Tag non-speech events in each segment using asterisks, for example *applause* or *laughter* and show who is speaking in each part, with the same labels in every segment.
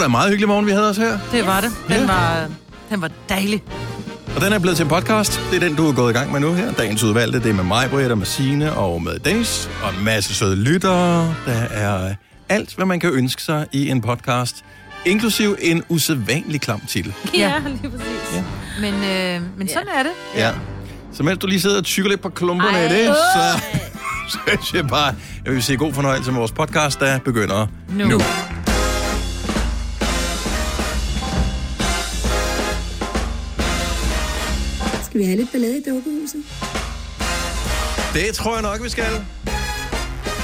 Speaker 1: da en meget hyggelig morgen, vi havde os her.
Speaker 2: Det var det. Den,
Speaker 1: Ja.
Speaker 2: var, den var dejlig.
Speaker 1: Og den er blevet til en podcast. Det er den, du er gået i gang med nu her. Dagens udvalgte, det er med mig, Britt, og med Signe og med Dennis. Og en masse søde lyttere. Der er alt, hvad man kan ønske sig i en podcast. Inklusiv en usædvanlig klam titel.
Speaker 3: Ja, lige præcis. Ja.
Speaker 2: Men, øh, men sådan er det.
Speaker 1: Ja. Så mens du lige sidder og tykker lidt på klumperne
Speaker 3: Ej.
Speaker 1: af det, *laughs* så synes jeg bare, jeg vil sige god fornøjelse med vores podcast, der begynder nu. nu.
Speaker 4: Skal vi have lidt ballade i dukkehuset?
Speaker 1: Det tror jeg nok, vi skal.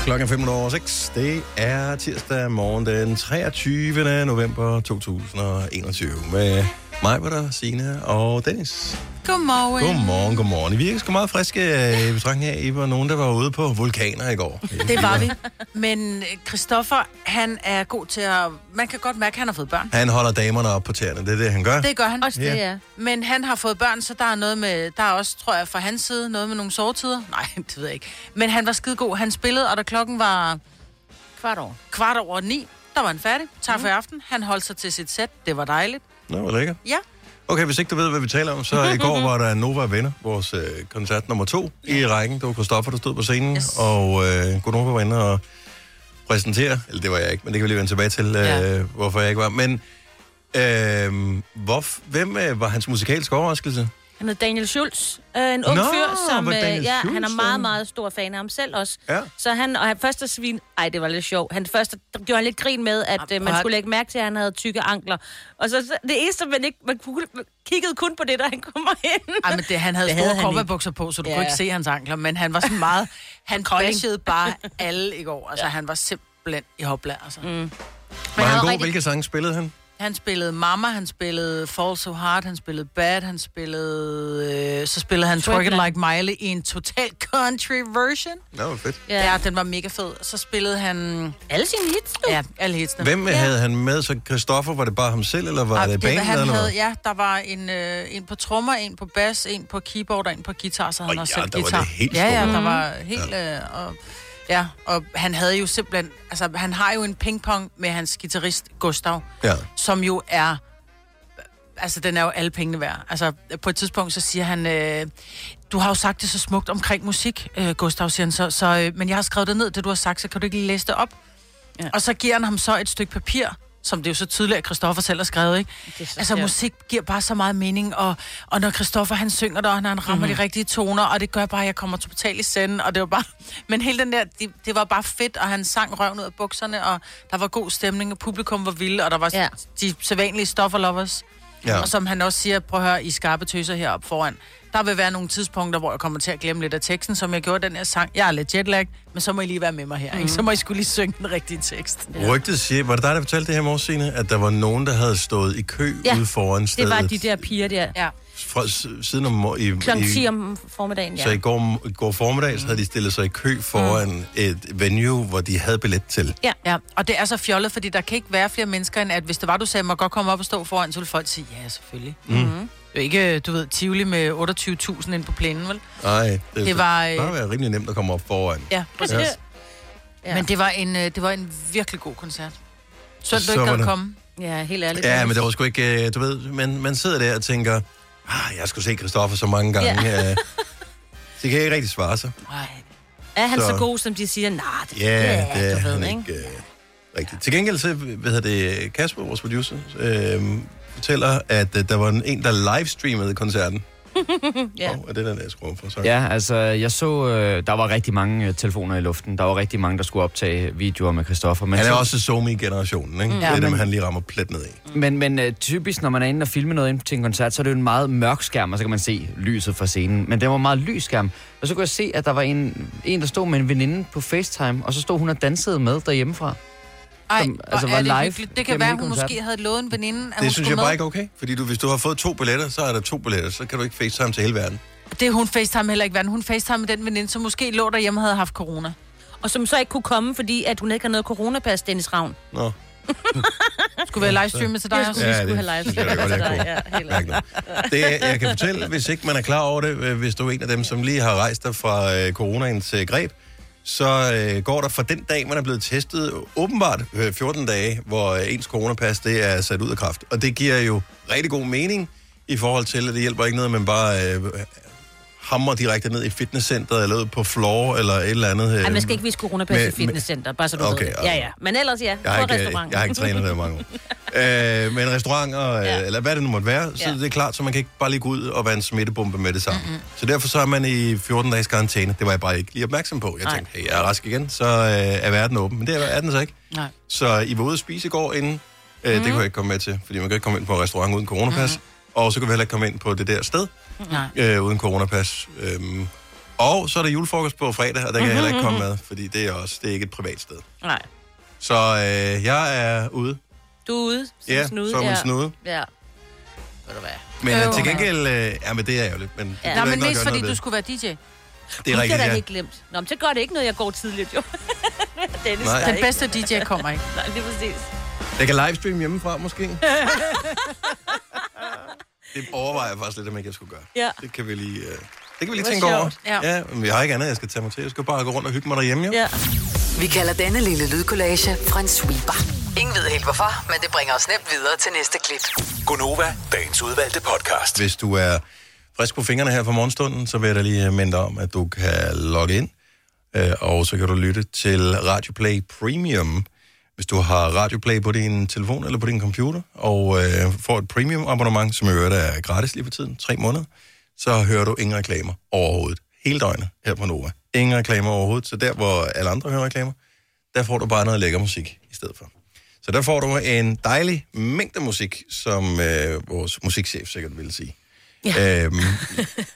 Speaker 1: Klokken er 5 over 6. Det er tirsdag morgen den 23. november 2021 med mig, var der, Signe og Dennis.
Speaker 2: Godmorgen.
Speaker 1: Godmorgen, godmorgen. I virker sgu meget friske øh, i betragtning af, I var nogen, der var ude på vulkaner i
Speaker 2: *laughs*
Speaker 1: går.
Speaker 2: Det var vi. Men øh, Christoffer, han er god til at... Man kan godt mærke, at han har fået børn.
Speaker 1: Han holder damerne op på tæerne, det er det, han gør.
Speaker 2: Det gør han.
Speaker 3: Også
Speaker 1: Ja.
Speaker 3: det, ja.
Speaker 2: Men han har fået børn, så der er noget med... Der er også, tror jeg, fra hans side noget med nogle sovetider. *laughs* Nej, det ved jeg ikke. Men han var skidegod. Han spillede, og da klokken var
Speaker 3: Kvart år.
Speaker 2: kvart over ni, der var han færdig. Tak for i aften. Han holdt sig til sit sæt. Det var dejligt.
Speaker 1: Nå, hvor lækkert.
Speaker 2: Ja.
Speaker 1: Okay, hvis ikke du ved, hvad vi taler om, så i går var der Nova Venner, vores øh, koncert nummer to i rækken. Det var Christoffer, der stod på scenen, yes.
Speaker 2: Yes.
Speaker 1: og øh, Gunova var inde og præsentere, eller det var jeg ikke, men det kan vi lige vende tilbage til, øh, ja.
Speaker 2: Ja.
Speaker 1: hvorfor jeg ikke var. Men øh, hvorf, hvem øh, var hans musikalske overraskelse?
Speaker 3: Han hedder Daniel Schultz, øh, en ung
Speaker 1: Nå,
Speaker 3: fyr, som
Speaker 1: var
Speaker 3: øh,
Speaker 1: Daniel
Speaker 3: ja,
Speaker 1: Schultz,
Speaker 3: han er
Speaker 1: øh.
Speaker 3: meget, meget stor fan af ham selv også.
Speaker 1: Ja.
Speaker 3: Så han, og han første svin, ej, det var lidt sjovt. Han første der gjorde han lidt grin med, at øh, man
Speaker 2: hvor-
Speaker 3: skulle lægge mærke til, at han havde tykke ankler. Og så, så det eneste, man ikke, man kunne- man kiggede kun på det, der han kommer *laughs* ind.
Speaker 2: Ej, men det, han havde
Speaker 3: Det
Speaker 2: store
Speaker 3: havde han
Speaker 2: cowboybukser på, så du ja.
Speaker 3: Ja.
Speaker 2: kunne ikke se hans ankler, men han var sådan
Speaker 3: *laughs*
Speaker 2: meget... Han bashede bare alle i går. Altså, ja. han var simpelthen i hopla, altså. Mm.
Speaker 1: Var
Speaker 3: han
Speaker 1: han
Speaker 3: var
Speaker 1: god?
Speaker 3: rigtig-
Speaker 1: Hvilke sange spillede han?
Speaker 2: Han spillede Mama, han spillede Fall So Hard, han spillede Bad, han spillede... Øh, så spillede han Twerk It
Speaker 3: Twerk
Speaker 2: Like Miley i en total country version.
Speaker 1: Nå, hvor fedt.
Speaker 2: Ja. ja, den var mega fed. Så spillede han...
Speaker 3: Alle sine hits, du.
Speaker 2: Ja, alle hitsene.
Speaker 1: Hvem ja. havde han med? Så Christoffer, var det bare ham selv, eller var
Speaker 2: Ej,
Speaker 1: det
Speaker 2: Ah, var-
Speaker 1: banen eller
Speaker 2: han havde,
Speaker 1: noget?
Speaker 2: ja, der var en, øh, en på trommer, en på bas, en på keyboard og en på guitar, så havde
Speaker 1: Og
Speaker 2: han også
Speaker 1: ja,
Speaker 2: selv
Speaker 1: der var
Speaker 2: guitar.
Speaker 1: det helt
Speaker 2: ja, ja,
Speaker 1: store.
Speaker 2: der var helt... Øh, og, ja, og han havde jo simpelthen... Altså, han har jo en pingpong med hans guitarist Gustav,
Speaker 1: Ja.
Speaker 2: som jo er... Altså, den er jo alle pengene værd. Altså, på et tidspunkt, så siger han... Øh, du har jo sagt det så smukt omkring musik, øh, Gustav, siger han så. så øh, men jeg har skrevet det ned, det du har sagt, så kan du ikke lige læse det op? Ja. Og så giver han ham så et stykke papir, som det er jo så tydeligt, at Christoffer selv har skrevet, ikke?
Speaker 3: Det er så
Speaker 2: Altså,
Speaker 3: sjovt.
Speaker 2: musik giver bare så meget mening, og, og når Christoffer han synger det, og når han rammer mm-hmm. de rigtige toner, og det gør bare, at jeg kommer totalt i senden, og det var bare... *laughs* Men hele den der, det, det var bare fedt, og han sang røven ud af bukserne, og der var god stemning, og publikum var vilde, og der var ja.
Speaker 3: Ja.
Speaker 2: de sædvanlige stofferlovers.
Speaker 1: Ja.
Speaker 2: Ja. Og som han også siger, prøv at høre, I skarpe tøser heroppe foran. Der vil være nogle tidspunkter, hvor jeg kommer til at glemme lidt af teksten, som jeg gjorde i den her sang. Jeg er lidt jetlag, men så må I lige være med mig her. Mm. Ikke? Så må I skulle lige synge den rigtige tekst.
Speaker 1: Rygtet siger, var det dig, der fortalte det her morgen, Signe, at der var nogen, der havde stået i kø
Speaker 3: Ja,
Speaker 1: ude foran stedet?
Speaker 3: Det var de der piger der.
Speaker 2: Ja.
Speaker 1: fra, s- siden om mor- i,
Speaker 3: Klokken
Speaker 1: i
Speaker 3: 10 om formiddagen, ja.
Speaker 1: så i går, i går formiddag, så havde de stillet sig i kø foran mm. et venue, hvor de havde billet til.
Speaker 3: Ja.
Speaker 2: Ja, og det er så fjollet, fordi der kan ikke være flere mennesker, end at hvis det var, du sagde, må jeg godt komme op og stå foran, så ville folk sige, ja, selvfølgelig. Mm. Det er jo ikke, øh, du ved, Tivoli med 28.000 ind på plænen, vel?
Speaker 1: Nej, det,
Speaker 2: Det var, øh,
Speaker 1: det var være rimelig nemt at komme op foran.
Speaker 2: Ja, præcis.
Speaker 1: Ja.
Speaker 2: Ja.
Speaker 3: Ja.
Speaker 2: Men det var, en, øh, det var en virkelig god koncert. Synd,
Speaker 1: Så
Speaker 2: du ikke
Speaker 1: var
Speaker 2: gad
Speaker 1: det.
Speaker 2: komme.
Speaker 3: Ja, helt ærligt.
Speaker 1: Ja, men det var sgu ikke, øh, du ved, men man sidder der og tænker, ah, jeg skulle se Christoffer så mange gange. Ja. det kan ikke rigtig svare sig.
Speaker 2: Nej.
Speaker 3: Er han så,
Speaker 1: så-
Speaker 3: god, som de siger? Nej, nah, det,
Speaker 1: Ja, yeah,
Speaker 3: du
Speaker 1: det er han
Speaker 3: ved,
Speaker 1: ikke øh, rigtigt. Til gengæld, så, hvad hedder det, Kasper, vores producer, øh, fortæller, at øh, der var en, der livestreamede koncerten.
Speaker 3: Ja.
Speaker 1: Oh, er det den, jeg skruer for? Sorry.
Speaker 5: Ja, altså, jeg så, øh, der var rigtig mange øh, telefoner i luften. Der var rigtig mange, der skulle optage videoer med Christoffer. Men,
Speaker 1: Han er
Speaker 5: så-
Speaker 1: også somi-generationen, ikke? Ja, det er dem, han lige rammer plet ned i.
Speaker 5: men, men øh, typisk, når man er inde og filmer noget ind til en koncert, så er det jo en meget mørk skærm, og så kan man se lyset fra scenen. Men det var en meget lys skærm. Og så kunne jeg se, at der var en, en der stod med en veninde på FaceTime, og så stod hun og dansede med derhjemmefra.
Speaker 2: Ej,
Speaker 5: Som,
Speaker 2: hvor
Speaker 5: altså,
Speaker 2: er
Speaker 5: var
Speaker 2: det
Speaker 5: live
Speaker 2: hyggeligt. Det kan
Speaker 5: gennem
Speaker 2: være,
Speaker 5: hele
Speaker 2: hun
Speaker 5: koncerten.
Speaker 2: måske havde lovet en veninde, at hun
Speaker 1: Det synes
Speaker 2: skulle
Speaker 1: jeg
Speaker 2: med.
Speaker 1: bare ikke er okay. Fordi du, hvis du har fået to billetter, så er der to billetter. Så kan du ikke facetime til hele verden.
Speaker 2: Det er hun facetime heller ikke været. Hun facetime med den veninde, som måske lå derhjemme og havde haft corona.
Speaker 3: Og som så ikke kunne komme, Mm, fordi at hun ikke har noget coronapas, Dennis Ravn. *laughs*
Speaker 1: Nå,
Speaker 2: Skulle være livestreamet til dig
Speaker 3: Jeg
Speaker 2: også?
Speaker 3: skulle, ja,
Speaker 1: Ja,
Speaker 3: vi skulle
Speaker 1: det
Speaker 3: have
Speaker 1: synes jeg da
Speaker 3: live.
Speaker 1: godt, jeg kunne.
Speaker 3: ja, helt ærligt.
Speaker 1: mærk noget. Det, jeg kan fortælle, hvis ikke man er klar over det, øh, hvis du er en af dem, som lige har rejst dig fra øh, coronaens øh, greb, så øh, går der fra den dag, man er blevet testet, åbenbart øh, 14 dage, hvor øh, ens coronapas det er sat ud af kraft. Og det giver jo rigtig god mening i forhold til, at det hjælper ikke noget, at man bare øh, hamrer direkte ned i fitnesscenteret, eller ud på floor, eller et eller andet. Øh,
Speaker 3: Ej, man skal ikke vise coronapas i
Speaker 1: med- med-
Speaker 3: fitnesscenter, bare så du
Speaker 1: Okay,
Speaker 3: ved det.
Speaker 1: ja.
Speaker 3: Ja, ja. Men ellers ja,
Speaker 1: Jeg
Speaker 3: på
Speaker 1: har, ikke, øh,
Speaker 3: restaurant.
Speaker 1: jeg har ikke trænet der i mange år. *laughs* øh, men restauranter, ja.
Speaker 3: Ja.
Speaker 1: eller hvad det nu måtte være, så ja.
Speaker 3: Ja.
Speaker 1: det er klart, så man kan ikke bare lige gå ud og være en smittebombe med det samme. Mm-hmm. Så derfor så er man i 14 dages karantæne. Det var jeg bare ikke lige opmærksom på. Jeg
Speaker 3: Nej.
Speaker 1: tænkte, hey, jeg er rask igen, så øh, er verden åben. Men det er- er den så ikke.
Speaker 2: Nej.
Speaker 1: Så I var ude at spise i går inden. Øh, Det kunne jeg ikke komme med til, fordi man kan ikke komme ind på en restaurant uden coronapas. Og så kunne vi heller ikke komme ind på det der sted
Speaker 2: Nej.
Speaker 1: øh, uden coronapas. Øhm, og så er der julefrokost på fredag, og der kan jeg heller ikke komme med, fordi det er også det er ikke et privat sted.
Speaker 3: *laughs* Nej.
Speaker 1: Så øh, jeg er ude
Speaker 3: Du er ude. som
Speaker 1: Ja,
Speaker 3: snude.
Speaker 1: som en snude.
Speaker 3: Ja. Ved du hvad?
Speaker 1: Men øh,
Speaker 2: Øv.
Speaker 1: til gengæld... Øh, ja, men det er ærgerligt. Men ja.
Speaker 3: Ja.
Speaker 2: Nej, men mest fordi du skulle være DJ.
Speaker 1: Det er rigtigt,
Speaker 3: det er
Speaker 1: ja.
Speaker 3: da helt glemt. Nå, men så gør det ikke noget, jeg går tidligt, jo. *laughs* Dennis,
Speaker 1: Nej.
Speaker 3: der
Speaker 1: Den
Speaker 2: Den
Speaker 3: ikke-
Speaker 2: bedste DJ kommer ikke.
Speaker 3: *laughs* Nej, lige
Speaker 1: *laughs*
Speaker 3: præcis.
Speaker 1: Jeg kan livestream hjemmefra, måske. det overvejer jeg faktisk lidt, om ikke jeg skulle gøre.
Speaker 3: Ja.
Speaker 1: Det kan vi lige... Øh, det kan vi lige
Speaker 3: var
Speaker 1: tænke over.
Speaker 3: sjovt.
Speaker 2: Ja.
Speaker 1: ja. men jeg har ikke andet, jeg skal tage mig til. Jeg skal bare gå rundt og hygge mig derhjemme, jo.
Speaker 3: Ja.
Speaker 6: Vi kalder denne lille lydkollage Frans sweeper. Ingen ved helt hvorfor, men det bringer os nemt videre til næste klip.
Speaker 7: Gunova, dagens udvalgte podcast.
Speaker 1: Hvis du er frisk på fingrene her fra morgenstunden, så vil jeg da lige øh, minde dig om, at du kan logge ind, øh, og så kan du lytte til Radio Play Premium, hvis du har Radio Play på din telefon eller på din computer, og øh, får et premium abonnement, som i øvrigt er gratis lige for tiden, tre måneder, så hører du ingen reklamer overhovedet. Hele døgnet her på Nova. Ingen reklamer overhovedet, så der hvor alle andre hører reklamer, der får du bare noget lækker musik i stedet for. Så der får du en dejlig mængde musik, som øh, vores musikchef sikkert ville sige. Ja. Øhm,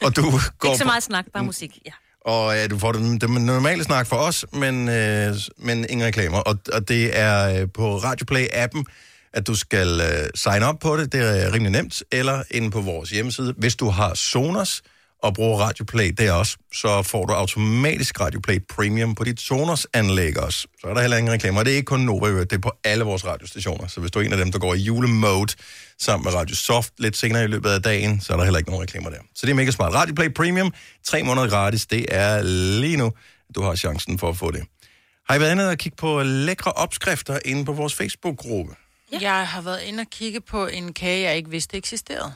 Speaker 1: og du går
Speaker 3: *laughs* Ikke så
Speaker 1: på- Mm.
Speaker 3: meget snak, bare musik. Ja.
Speaker 1: og ja, du får den, den normale snak for os, men, øh, men ingen reklamer. Og, og det er øh, på Radioplay-appen, at du skal øh, sign up på det. Det er rimelig nemt. Eller inde på vores hjemmeside. Hvis du har Sonos og bruger Radioplay der også, så får du automatisk Radioplay Premium på dit Sonos-anlæg også. Så er der heller ingen reklamer. Og det er ikke kun Nova, i øvrigt. det er på alle vores radiostationer. Så hvis du er en af dem, der går i julemode sammen med Radio Soft lidt senere i løbet af dagen, så er der heller ikke nogen reklamer der. Så det er mega smart. Radioplay Premium, tre måneder gratis, det er lige nu, du har chancen for at få det. Har I været inde og kigge på lækre opskrifter inde på vores Facebook-gruppe?
Speaker 2: *laughs* Jeg har været inde og kigge på en kage, jeg ikke vidste eksisterede.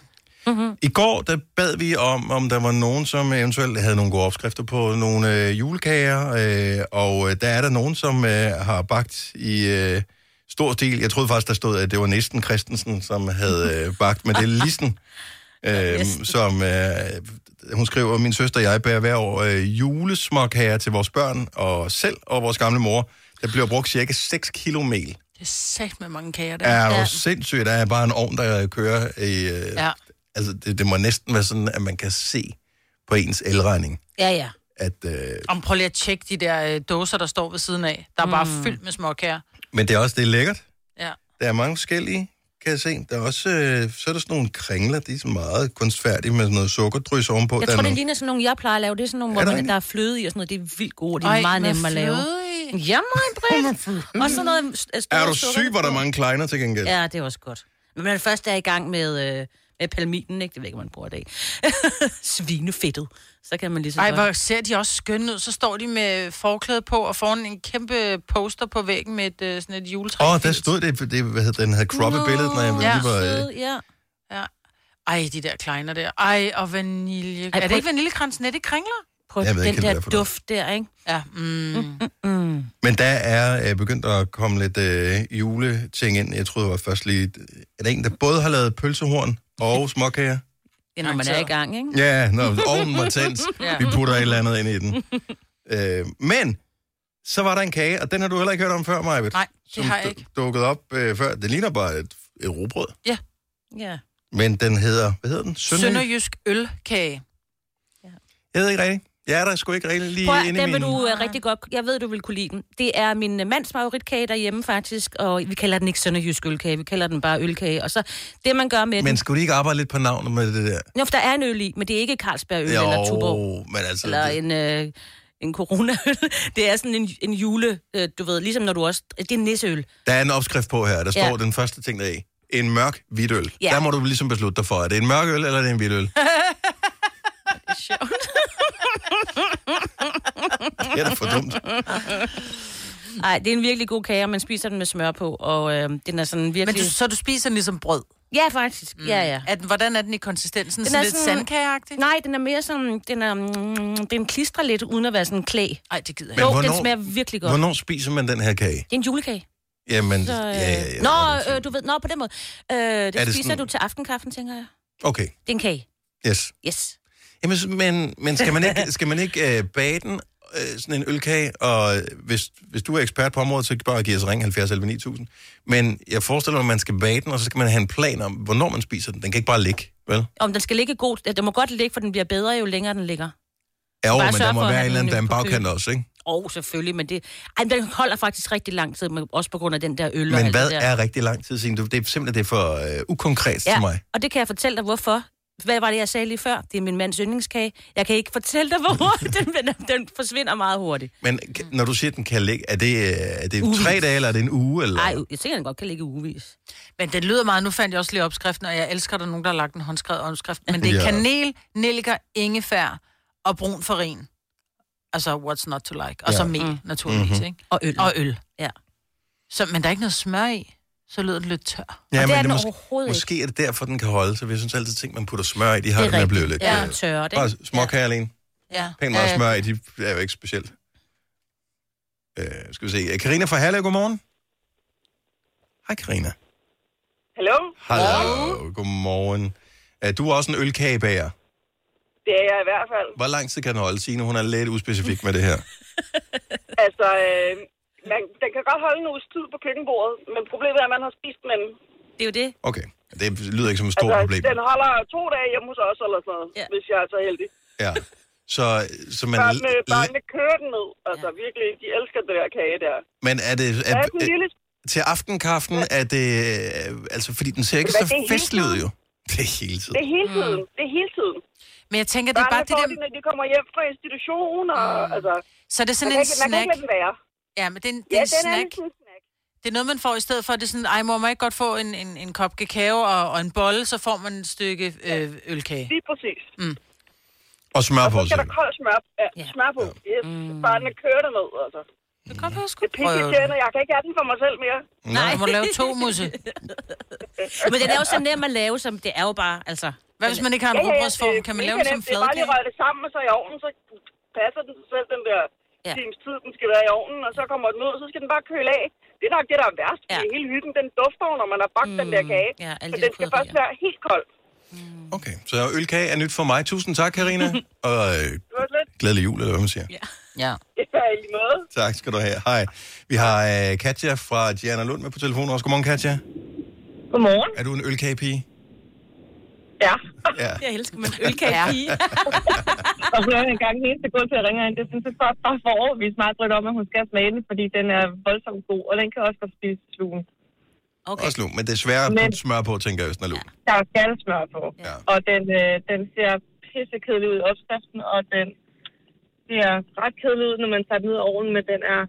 Speaker 1: I går, der bad vi om, om der var nogen, som eventuelt havde nogle gode opskrifter på nogle øh, julekager, øh, og øh, der er der nogen, som øh, har bagt i øh, stor stil. Jeg troede faktisk, der stod, at det var næsten Christensen, som havde øh, bagt, men det er Lissen, øh, som øh, hun skriver, min søster og jeg bærer hver år øh, julesmåkager til vores børn og selv og vores gamle mor. Der bliver brugt cirka 6 kilo mel.
Speaker 2: Det er sagt med mange kager der.
Speaker 1: Er jo
Speaker 3: Ja.
Speaker 1: sindssygt, der er bare en ovn, der kører i... Øh,
Speaker 2: Ja.
Speaker 1: Altså, det, det må næsten være sådan, at man kan se på ens elregning,
Speaker 3: Ja, ja.
Speaker 1: at... Øh,
Speaker 2: Om prøv lige at tjekke de der øh, dåser, der står ved siden af. Der er bare
Speaker 3: Mm.
Speaker 2: fyldt med småkager.
Speaker 1: men det er også det er lækkert.
Speaker 2: Ja.
Speaker 1: Der er mange forskellige, kan jeg se. Der er også... Øh, så er der sådan nogle kringler, de er sådan meget kunstfærdige med sådan noget sukkerdrys ovenpå.
Speaker 3: Jeg
Speaker 1: Der
Speaker 3: tror,
Speaker 1: er
Speaker 3: det
Speaker 1: nogle-
Speaker 3: ligner sådan nogle, jeg plejer at lave. Det er sådan nogle,
Speaker 1: Er der
Speaker 3: hvor man,
Speaker 1: egentlig?
Speaker 3: der er fløde i og sådan noget. Det er vildt gode. Det er meget
Speaker 2: med
Speaker 3: nemme at lave.
Speaker 2: fløde i.
Speaker 3: Ja, meget bredt. og sådan noget s- store
Speaker 1: er du
Speaker 3: sukker-
Speaker 1: syg, hvor der er mange kleiner til gengæld?
Speaker 3: Ja, det er også godt. Men når man først er i gang med, øh, med palmiten, ikke? det ved jeg ikke, om man bruger i dag. *laughs* Svinefedtet. Så kan man lige så
Speaker 2: Ej,
Speaker 3: godt-
Speaker 2: hvor ser de også skønne ud. Så står de med forklæde på, og foran en kæmpe poster på væggen med et, øh, sådan et juletræ.
Speaker 1: Åh, oh, der stod det, det hvad hedder, den havde croppet billedet, når jeg
Speaker 3: Nå,
Speaker 1: ja. lige var... Øh,
Speaker 3: søde, ja.
Speaker 2: Ja. Ej, de der kleiner der. Ej, og vanilje.
Speaker 3: Ej,
Speaker 2: er det
Speaker 3: prøv-
Speaker 2: ikke vaniljekransen? Er det kringler?
Speaker 3: Prøv
Speaker 1: Jeg ved
Speaker 3: den
Speaker 1: ikke, hvad det er for
Speaker 3: der
Speaker 1: noget.
Speaker 3: duft der, ikke?
Speaker 2: Ja. Mm.
Speaker 1: Men der er øh, begyndt at komme lidt øh, juleting ind. Jeg troede, det var først lige... øh, Er der en, der både har lavet pølsehorn og småkager?
Speaker 3: Det er, når man er i gang, ikke?
Speaker 1: Ja, når ovnen var
Speaker 3: *laughs*
Speaker 1: tændt.
Speaker 2: Ja.
Speaker 1: Vi putter et eller andet ind i den. Øh, men, så var der en kage, og den har du heller ikke hørt om før, Majbet.
Speaker 2: Nej, det
Speaker 1: som
Speaker 2: har jeg
Speaker 1: du-
Speaker 2: ikke.
Speaker 1: Dukket op øh, før. Det ligner bare et, et rugbrød.
Speaker 3: Ja.
Speaker 1: Men den hedder, hvad hedder den? Sønderjysk.
Speaker 2: Sønderjysk ølkage.
Speaker 1: Jeg ved ikke rigtigt. Jeg er der sgu ikke rigtig lige
Speaker 3: Prøv, at-
Speaker 1: inde
Speaker 3: den
Speaker 1: i
Speaker 3: vil
Speaker 1: min...
Speaker 3: du uh, rigtig godt... Jeg ved, du vil kunne lide den. Det er min øh, mands favoritkage derhjemme, faktisk. Og vi kalder den ikke sønderjysk ølkage. Vi kalder den bare ølkage. Og så det, man gør med
Speaker 1: Men
Speaker 3: den...
Speaker 1: skulle de ikke arbejde lidt på navnet med det der?
Speaker 3: Jo, for der er en øl i, men det er ikke Carlsbergøl
Speaker 1: Jo,
Speaker 3: eller Tuborg.
Speaker 1: men altså...
Speaker 3: eller
Speaker 1: det-
Speaker 3: en, øh, en corona *laughs* Det er sådan en, en jule, øh, du ved, ligesom når du også... Det er en nisseøl. *laughs*
Speaker 1: Der er en opskrift på her, der
Speaker 3: Ja.
Speaker 1: står den første ting der er i. En mørk hvidøl.
Speaker 3: Ja.
Speaker 1: Der må du ligesom beslutte dig for, er det en mørk øl, eller er det en hvidøl? det er da for dumt.
Speaker 3: Nej, det er en virkelig god kage, og man spiser den med smør på, og øh, den er sådan
Speaker 2: Men
Speaker 3: virkelig...
Speaker 2: du, så du spiser den ligesom brød?
Speaker 3: Ja, faktisk. Mm. Ja, ja.
Speaker 2: Er den, hvordan er den i
Speaker 3: Den
Speaker 2: konsistensen? Den så
Speaker 3: er
Speaker 2: lidt
Speaker 3: sådan-
Speaker 2: sandkageagtig?
Speaker 3: Nej, den er mere sådan... Den, er, mm, den klistrer lidt, uden at være sådan en klæ.
Speaker 2: Nej, det gider jeg
Speaker 1: Men
Speaker 3: Jo,
Speaker 2: ikke.
Speaker 1: hvornår-
Speaker 3: den smager virkelig godt.
Speaker 1: Hvornår spiser man den her kage?
Speaker 3: Det er en julekage.
Speaker 1: Jamen,
Speaker 3: Så,
Speaker 1: ja,
Speaker 3: øh...
Speaker 1: ja, ja.
Speaker 3: Nå, øh, du ved, nå, på den måde. Øh, det,
Speaker 1: det
Speaker 3: det spiser
Speaker 1: sådan-
Speaker 3: du til aftenkaffen, tænker jeg.
Speaker 1: Okay,
Speaker 3: Det er en kage.
Speaker 1: yes.
Speaker 3: Yes.
Speaker 1: Jamen, så- men, men skal man *laughs* ikke, skal man ikke øh, bage den, øh, sådan en ølkage, og øh, hvis, hvis du er ekspert på området, så kan du bare give os ring 70 11 9000. Men jeg forestiller mig, at man skal bage den, og så skal man have en plan om, hvornår man spiser den. Den kan ikke bare ligge, vel?
Speaker 3: Om den skal ligge god... Den må godt ligge, for den bliver bedre, jo længere den ligger.
Speaker 1: Ja, jo,
Speaker 3: Bare
Speaker 1: men
Speaker 3: sørg
Speaker 1: der må
Speaker 3: for at
Speaker 1: være
Speaker 3: have
Speaker 1: en eller anden,
Speaker 3: den
Speaker 1: der er
Speaker 3: på
Speaker 1: en
Speaker 3: køl.
Speaker 1: bagkant også, ikke?
Speaker 3: Åh, oh, selvfølgelig, men det... Ej, men den holder faktisk rigtig lang tid, men også på grund af den der øl og
Speaker 1: Men
Speaker 3: alt
Speaker 1: hvad
Speaker 3: det der.
Speaker 1: er rigtig lang tid siden? Du- Det er simpelthen det er for øh, ukonkret ja. til mig.
Speaker 3: og det kan jeg fortælle dig, hvorfor. Hvad var det, jeg sagde lige før? Det er min mands yndlingskage. Jeg kan ikke fortælle dig, hvor hurtigt den, den- *laughs* den forsvinder meget hurtigt.
Speaker 1: Men
Speaker 3: Mm.
Speaker 1: kan- når du siger, at den kan ligge, er det, øh, er det tre dage, eller er det en uge? Eller?
Speaker 3: Nej, jeg tænker, den godt kan ligge ugevis.
Speaker 2: Men den lyder meget. Nu fandt jeg også lige opskriften, og jeg elsker, at der er nogen, der har lagt en håndskrevet opskrift. Men det er
Speaker 1: Ja.
Speaker 2: kanel, nælker, ingefær og brun farin. Altså, what's not to like. Og så
Speaker 1: Ja. Mm. Mhm.
Speaker 2: mel, naturligvis, mm-hmm. ikke?
Speaker 3: Og øl.
Speaker 2: Og øl.
Speaker 3: Ja.
Speaker 2: Så, men der er ikke noget smør i. Så lyder den lidt tør.
Speaker 1: Ja,
Speaker 3: Og det er
Speaker 1: men
Speaker 3: den
Speaker 1: mås-
Speaker 3: overhovedet ikke.
Speaker 1: Måske er det derfor, den kan holde, så vi synes altid, ting, man putter smør i, de har det, med at blive lidt...
Speaker 3: Ja,
Speaker 1: øh,
Speaker 3: tørre, det.
Speaker 1: Bare småkager alene.
Speaker 2: Ja. Øh,
Speaker 1: Pænt meget
Speaker 2: Ja,
Speaker 1: smør i, de er jo ikke specielt. Øh, skal vi se. Karina fra Herlev, godmorgen. Hej, Karina.
Speaker 8: Hallo?
Speaker 1: Hallo, godmorgen. Øh, Du er også en ølkagebager.
Speaker 8: Det er jeg i hvert fald.
Speaker 1: Hvor lang tid kan den holde? Signe, hun er lidt uspecifik med det her.
Speaker 8: Altså, øh, man, den kan godt holde en uges tid på køkkenbordet, men problemet er, at man har spist den.
Speaker 3: Det er jo det.
Speaker 1: Okay, det lyder ikke som et stort
Speaker 8: Altså,
Speaker 1: problem.
Speaker 8: den holder to dage hjemme hos os eller sådan noget,
Speaker 3: Ja.
Speaker 8: ja. hvis jeg er så heldig.
Speaker 1: Ja. Så, så man,
Speaker 8: Børnene, børnene kører den ned. Altså, virkelig, de elsker det der kage der.
Speaker 1: men er det
Speaker 8: Der
Speaker 1: er,
Speaker 8: er sådan en
Speaker 1: øh,
Speaker 8: lille...
Speaker 1: til aftenkaffen, er det, øh, altså fordi den ser ikke
Speaker 8: Hvad, det er
Speaker 1: så
Speaker 8: hele
Speaker 1: festlig ud
Speaker 8: tiden?
Speaker 1: jo. Det er hele tiden.
Speaker 8: Det er hele tiden. Det er hele tiden.
Speaker 2: Mm. Men jeg tænker, det er bare
Speaker 8: Børnene
Speaker 2: det
Speaker 8: får
Speaker 2: der...
Speaker 8: det, når de kommer hjem fra institution, og altså...
Speaker 2: Mm. Ah. Så er det
Speaker 8: Man
Speaker 2: sådan
Speaker 8: kan,
Speaker 2: en
Speaker 8: ikke, man kan
Speaker 2: snack.
Speaker 8: ikke lade den være.
Speaker 2: Ja, men det er en, det
Speaker 8: Ja,
Speaker 2: er en
Speaker 8: den er
Speaker 2: snack.
Speaker 8: ligesom en snack.
Speaker 2: Det er noget, man får i stedet for, at det er sådan, ej, må man ikke godt få en, en, en kop kakao og, og en bolle, så får man et stykke øh, ølkage. Mm.
Speaker 8: Lige præcis.
Speaker 1: Og smør på
Speaker 8: Så skal
Speaker 1: sig.
Speaker 8: der koldt smør, ja,
Speaker 3: Ja.
Speaker 8: smør på. Yes. Børnene kører det ned, altså.
Speaker 2: Mm. Det kan være sgu
Speaker 8: Det er pikke
Speaker 2: prøve.
Speaker 8: irriterende. Jeg kan ikke have den for mig selv mere.
Speaker 2: Nej, du må lave to
Speaker 8: *laughs*
Speaker 2: musse.
Speaker 3: Men den er jo så nem at lave, som det er jo bare, altså...
Speaker 2: Hvad hvis man ikke har en rugbrødsform? Kan man lave den som
Speaker 8: Det er bare lige
Speaker 2: fladkage?
Speaker 8: røre det sammen, og så i ovnen, så passer den sig selv den der
Speaker 3: Ja.
Speaker 8: ja. times tid, den skal være i ovnen, og så kommer den ud, og så skal den bare køle af. Det er nok det, der er værst,
Speaker 3: Ja.
Speaker 8: ja. hele hytten, den dufter, jo, når man har bagt mm, den der kage.
Speaker 3: ja, alle
Speaker 8: så
Speaker 3: de
Speaker 8: den
Speaker 3: der
Speaker 8: skal først
Speaker 3: krydderier.
Speaker 8: være helt kold.
Speaker 1: Okay, så ølkage er nyt for mig. Tusind tak, Karina. Og øh,
Speaker 8: Det var lidt,
Speaker 1: glædelig jul, eller hvad man siger. Ja.
Speaker 2: Ja.
Speaker 8: ja, *laughs* i lige måde.
Speaker 1: Tak skal du have. Hej. Vi har øh, Katja fra Diana Lund med på telefonen også. Godmorgen, Katja.
Speaker 8: Godmorgen.
Speaker 1: Er du en ølkagepige?
Speaker 8: *laughs* Ja.
Speaker 1: Ja.
Speaker 3: Jeg elsker, men ølkage
Speaker 2: Ja.
Speaker 3: pige.
Speaker 8: *laughs* Og så er jeg engang helt til gulvet, jeg ringer ind. Det synes jeg bare, bare for overvist meget drødt om, at hun skal smage den, fordi den er voldsomt god, og den kan også godt spise slugen.
Speaker 3: Okay.
Speaker 1: Også lun, men det er sværere at
Speaker 8: Men-
Speaker 1: putte smør på, tænker jeg, hvis den er lun.
Speaker 8: Der er skal smør på.
Speaker 1: Ja.
Speaker 8: Og den, øh, den ser pissekedelig ud i opskriften, og den ser ret kedelig ud, når man tager den ud af ovnen, men den er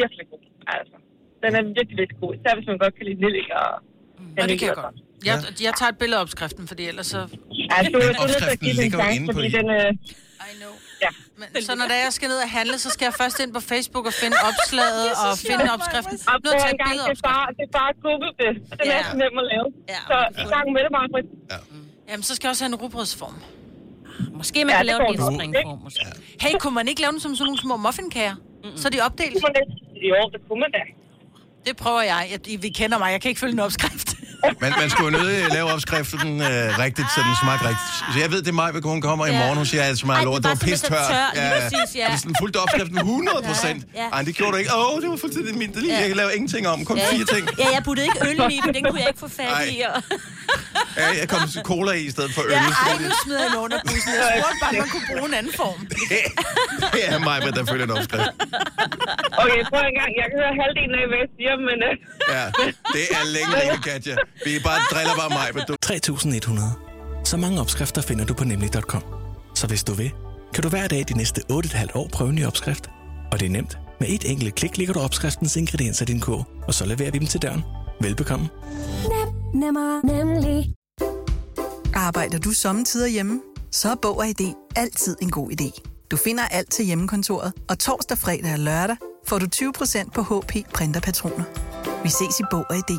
Speaker 8: virkelig god. Altså, den
Speaker 3: Mm.
Speaker 8: er virkelig, virkelig god. Især hvis man godt kan lide nellik og...
Speaker 2: Mm. Og det kan jeg godt. Jeg, jeg tager et billede af opskriften, fordi ellers så...
Speaker 8: Ja, Altså, du,
Speaker 1: Men
Speaker 8: du er nødt til at
Speaker 1: opskriften
Speaker 8: give den en
Speaker 1: ligger jo
Speaker 8: chance,
Speaker 1: inde på
Speaker 8: fordi
Speaker 1: i-
Speaker 8: den... Øh,
Speaker 2: I know.
Speaker 8: ja.
Speaker 2: Men, så når det er, jeg skal ned og handle, så skal jeg først ind på Facebook og
Speaker 8: *laughs*
Speaker 2: finde opslaget og finde opskriften.
Speaker 8: Og
Speaker 2: Nu
Speaker 8: prøv
Speaker 2: tager jeg
Speaker 8: en
Speaker 2: et
Speaker 8: gang,
Speaker 2: billede af
Speaker 8: det
Speaker 2: opskriften.
Speaker 8: er bare, det er bare gruppebedst. Den
Speaker 2: Ja.
Speaker 8: er så nem at lave.
Speaker 3: Ja.
Speaker 8: Så i gang Ah, med det, bare.
Speaker 1: Ja.
Speaker 2: Jamen, så skal jeg også have en rugbrødsform.
Speaker 3: Måske man
Speaker 8: Ja,
Speaker 3: kan
Speaker 8: det
Speaker 3: lave den i
Speaker 8: får
Speaker 3: en
Speaker 8: du.
Speaker 3: springform, måske.
Speaker 2: Hey, kunne man ikke lave dem som sådan nogle små muffinkager? Mm-hmm. Så er de opdelt.
Speaker 8: Jo, det kunne man da.
Speaker 2: Det prøver jeg. jeg. I- Vi kender mig. Jeg kan ikke følge en opskrift. *laughs*
Speaker 1: Men man skulle jo nødt lave opskriften øh, rigtigt, så den smager rigtigt. Så jeg ved, det er mig, hvor hun kommer i
Speaker 3: Ja.
Speaker 1: morgen. Hun siger, at det smager
Speaker 3: Ej,
Speaker 1: lort.
Speaker 3: det
Speaker 1: Det
Speaker 3: var
Speaker 1: var pis
Speaker 3: simpelthen så
Speaker 1: tør.
Speaker 3: tør. Lige præcis, ja.
Speaker 1: Og det er sådan fuldt opskriften 100 procent.
Speaker 3: Ja, ja.
Speaker 1: Ej, det gjorde du ikke. Åh, det var fuldstændig min. Det lige, jeg kan lave ingenting om. Kun fire ting.
Speaker 3: Ja, jeg puttede ikke øl i den, den kunne jeg ikke få fat i.
Speaker 1: Ej.
Speaker 3: Og...
Speaker 1: Ja, jeg kom til cola i, i stedet for øl.
Speaker 2: Ja,
Speaker 1: så
Speaker 2: ej,
Speaker 1: det-
Speaker 2: nu smider
Speaker 1: *laughs*
Speaker 2: jeg den under bussen. Jeg spurgte bare, om man kunne bruge en anden form.
Speaker 1: det er mig, der følger en opskrift.
Speaker 8: Okay, prøv en gang. Jeg kan høre halvdelen af, hvad jeg siger, men... Øh,
Speaker 1: Ja, det er længe, længe, Katja. Vi bare driller bare mig, men du...
Speaker 9: 3100. Så mange opskrifter finder du på nemlig.com. Så hvis du vil, kan du hver dag de næste 8,5 år prøve en ny opskrift. Og det er nemt. Med et enkelt klik ligger du opskriftens ingredienser i din kog, og så leverer vi dem til døren. Velbekomme.
Speaker 4: Nemmere, nemlig.
Speaker 10: Arbejder du sommetider hjemme? Så er Bog og ID altid en god idé. Du finder alt til hjemmekontoret, og torsdag, fredag og lørdag får du 20% på HP printerpatroner. Vi ses i Bog og ID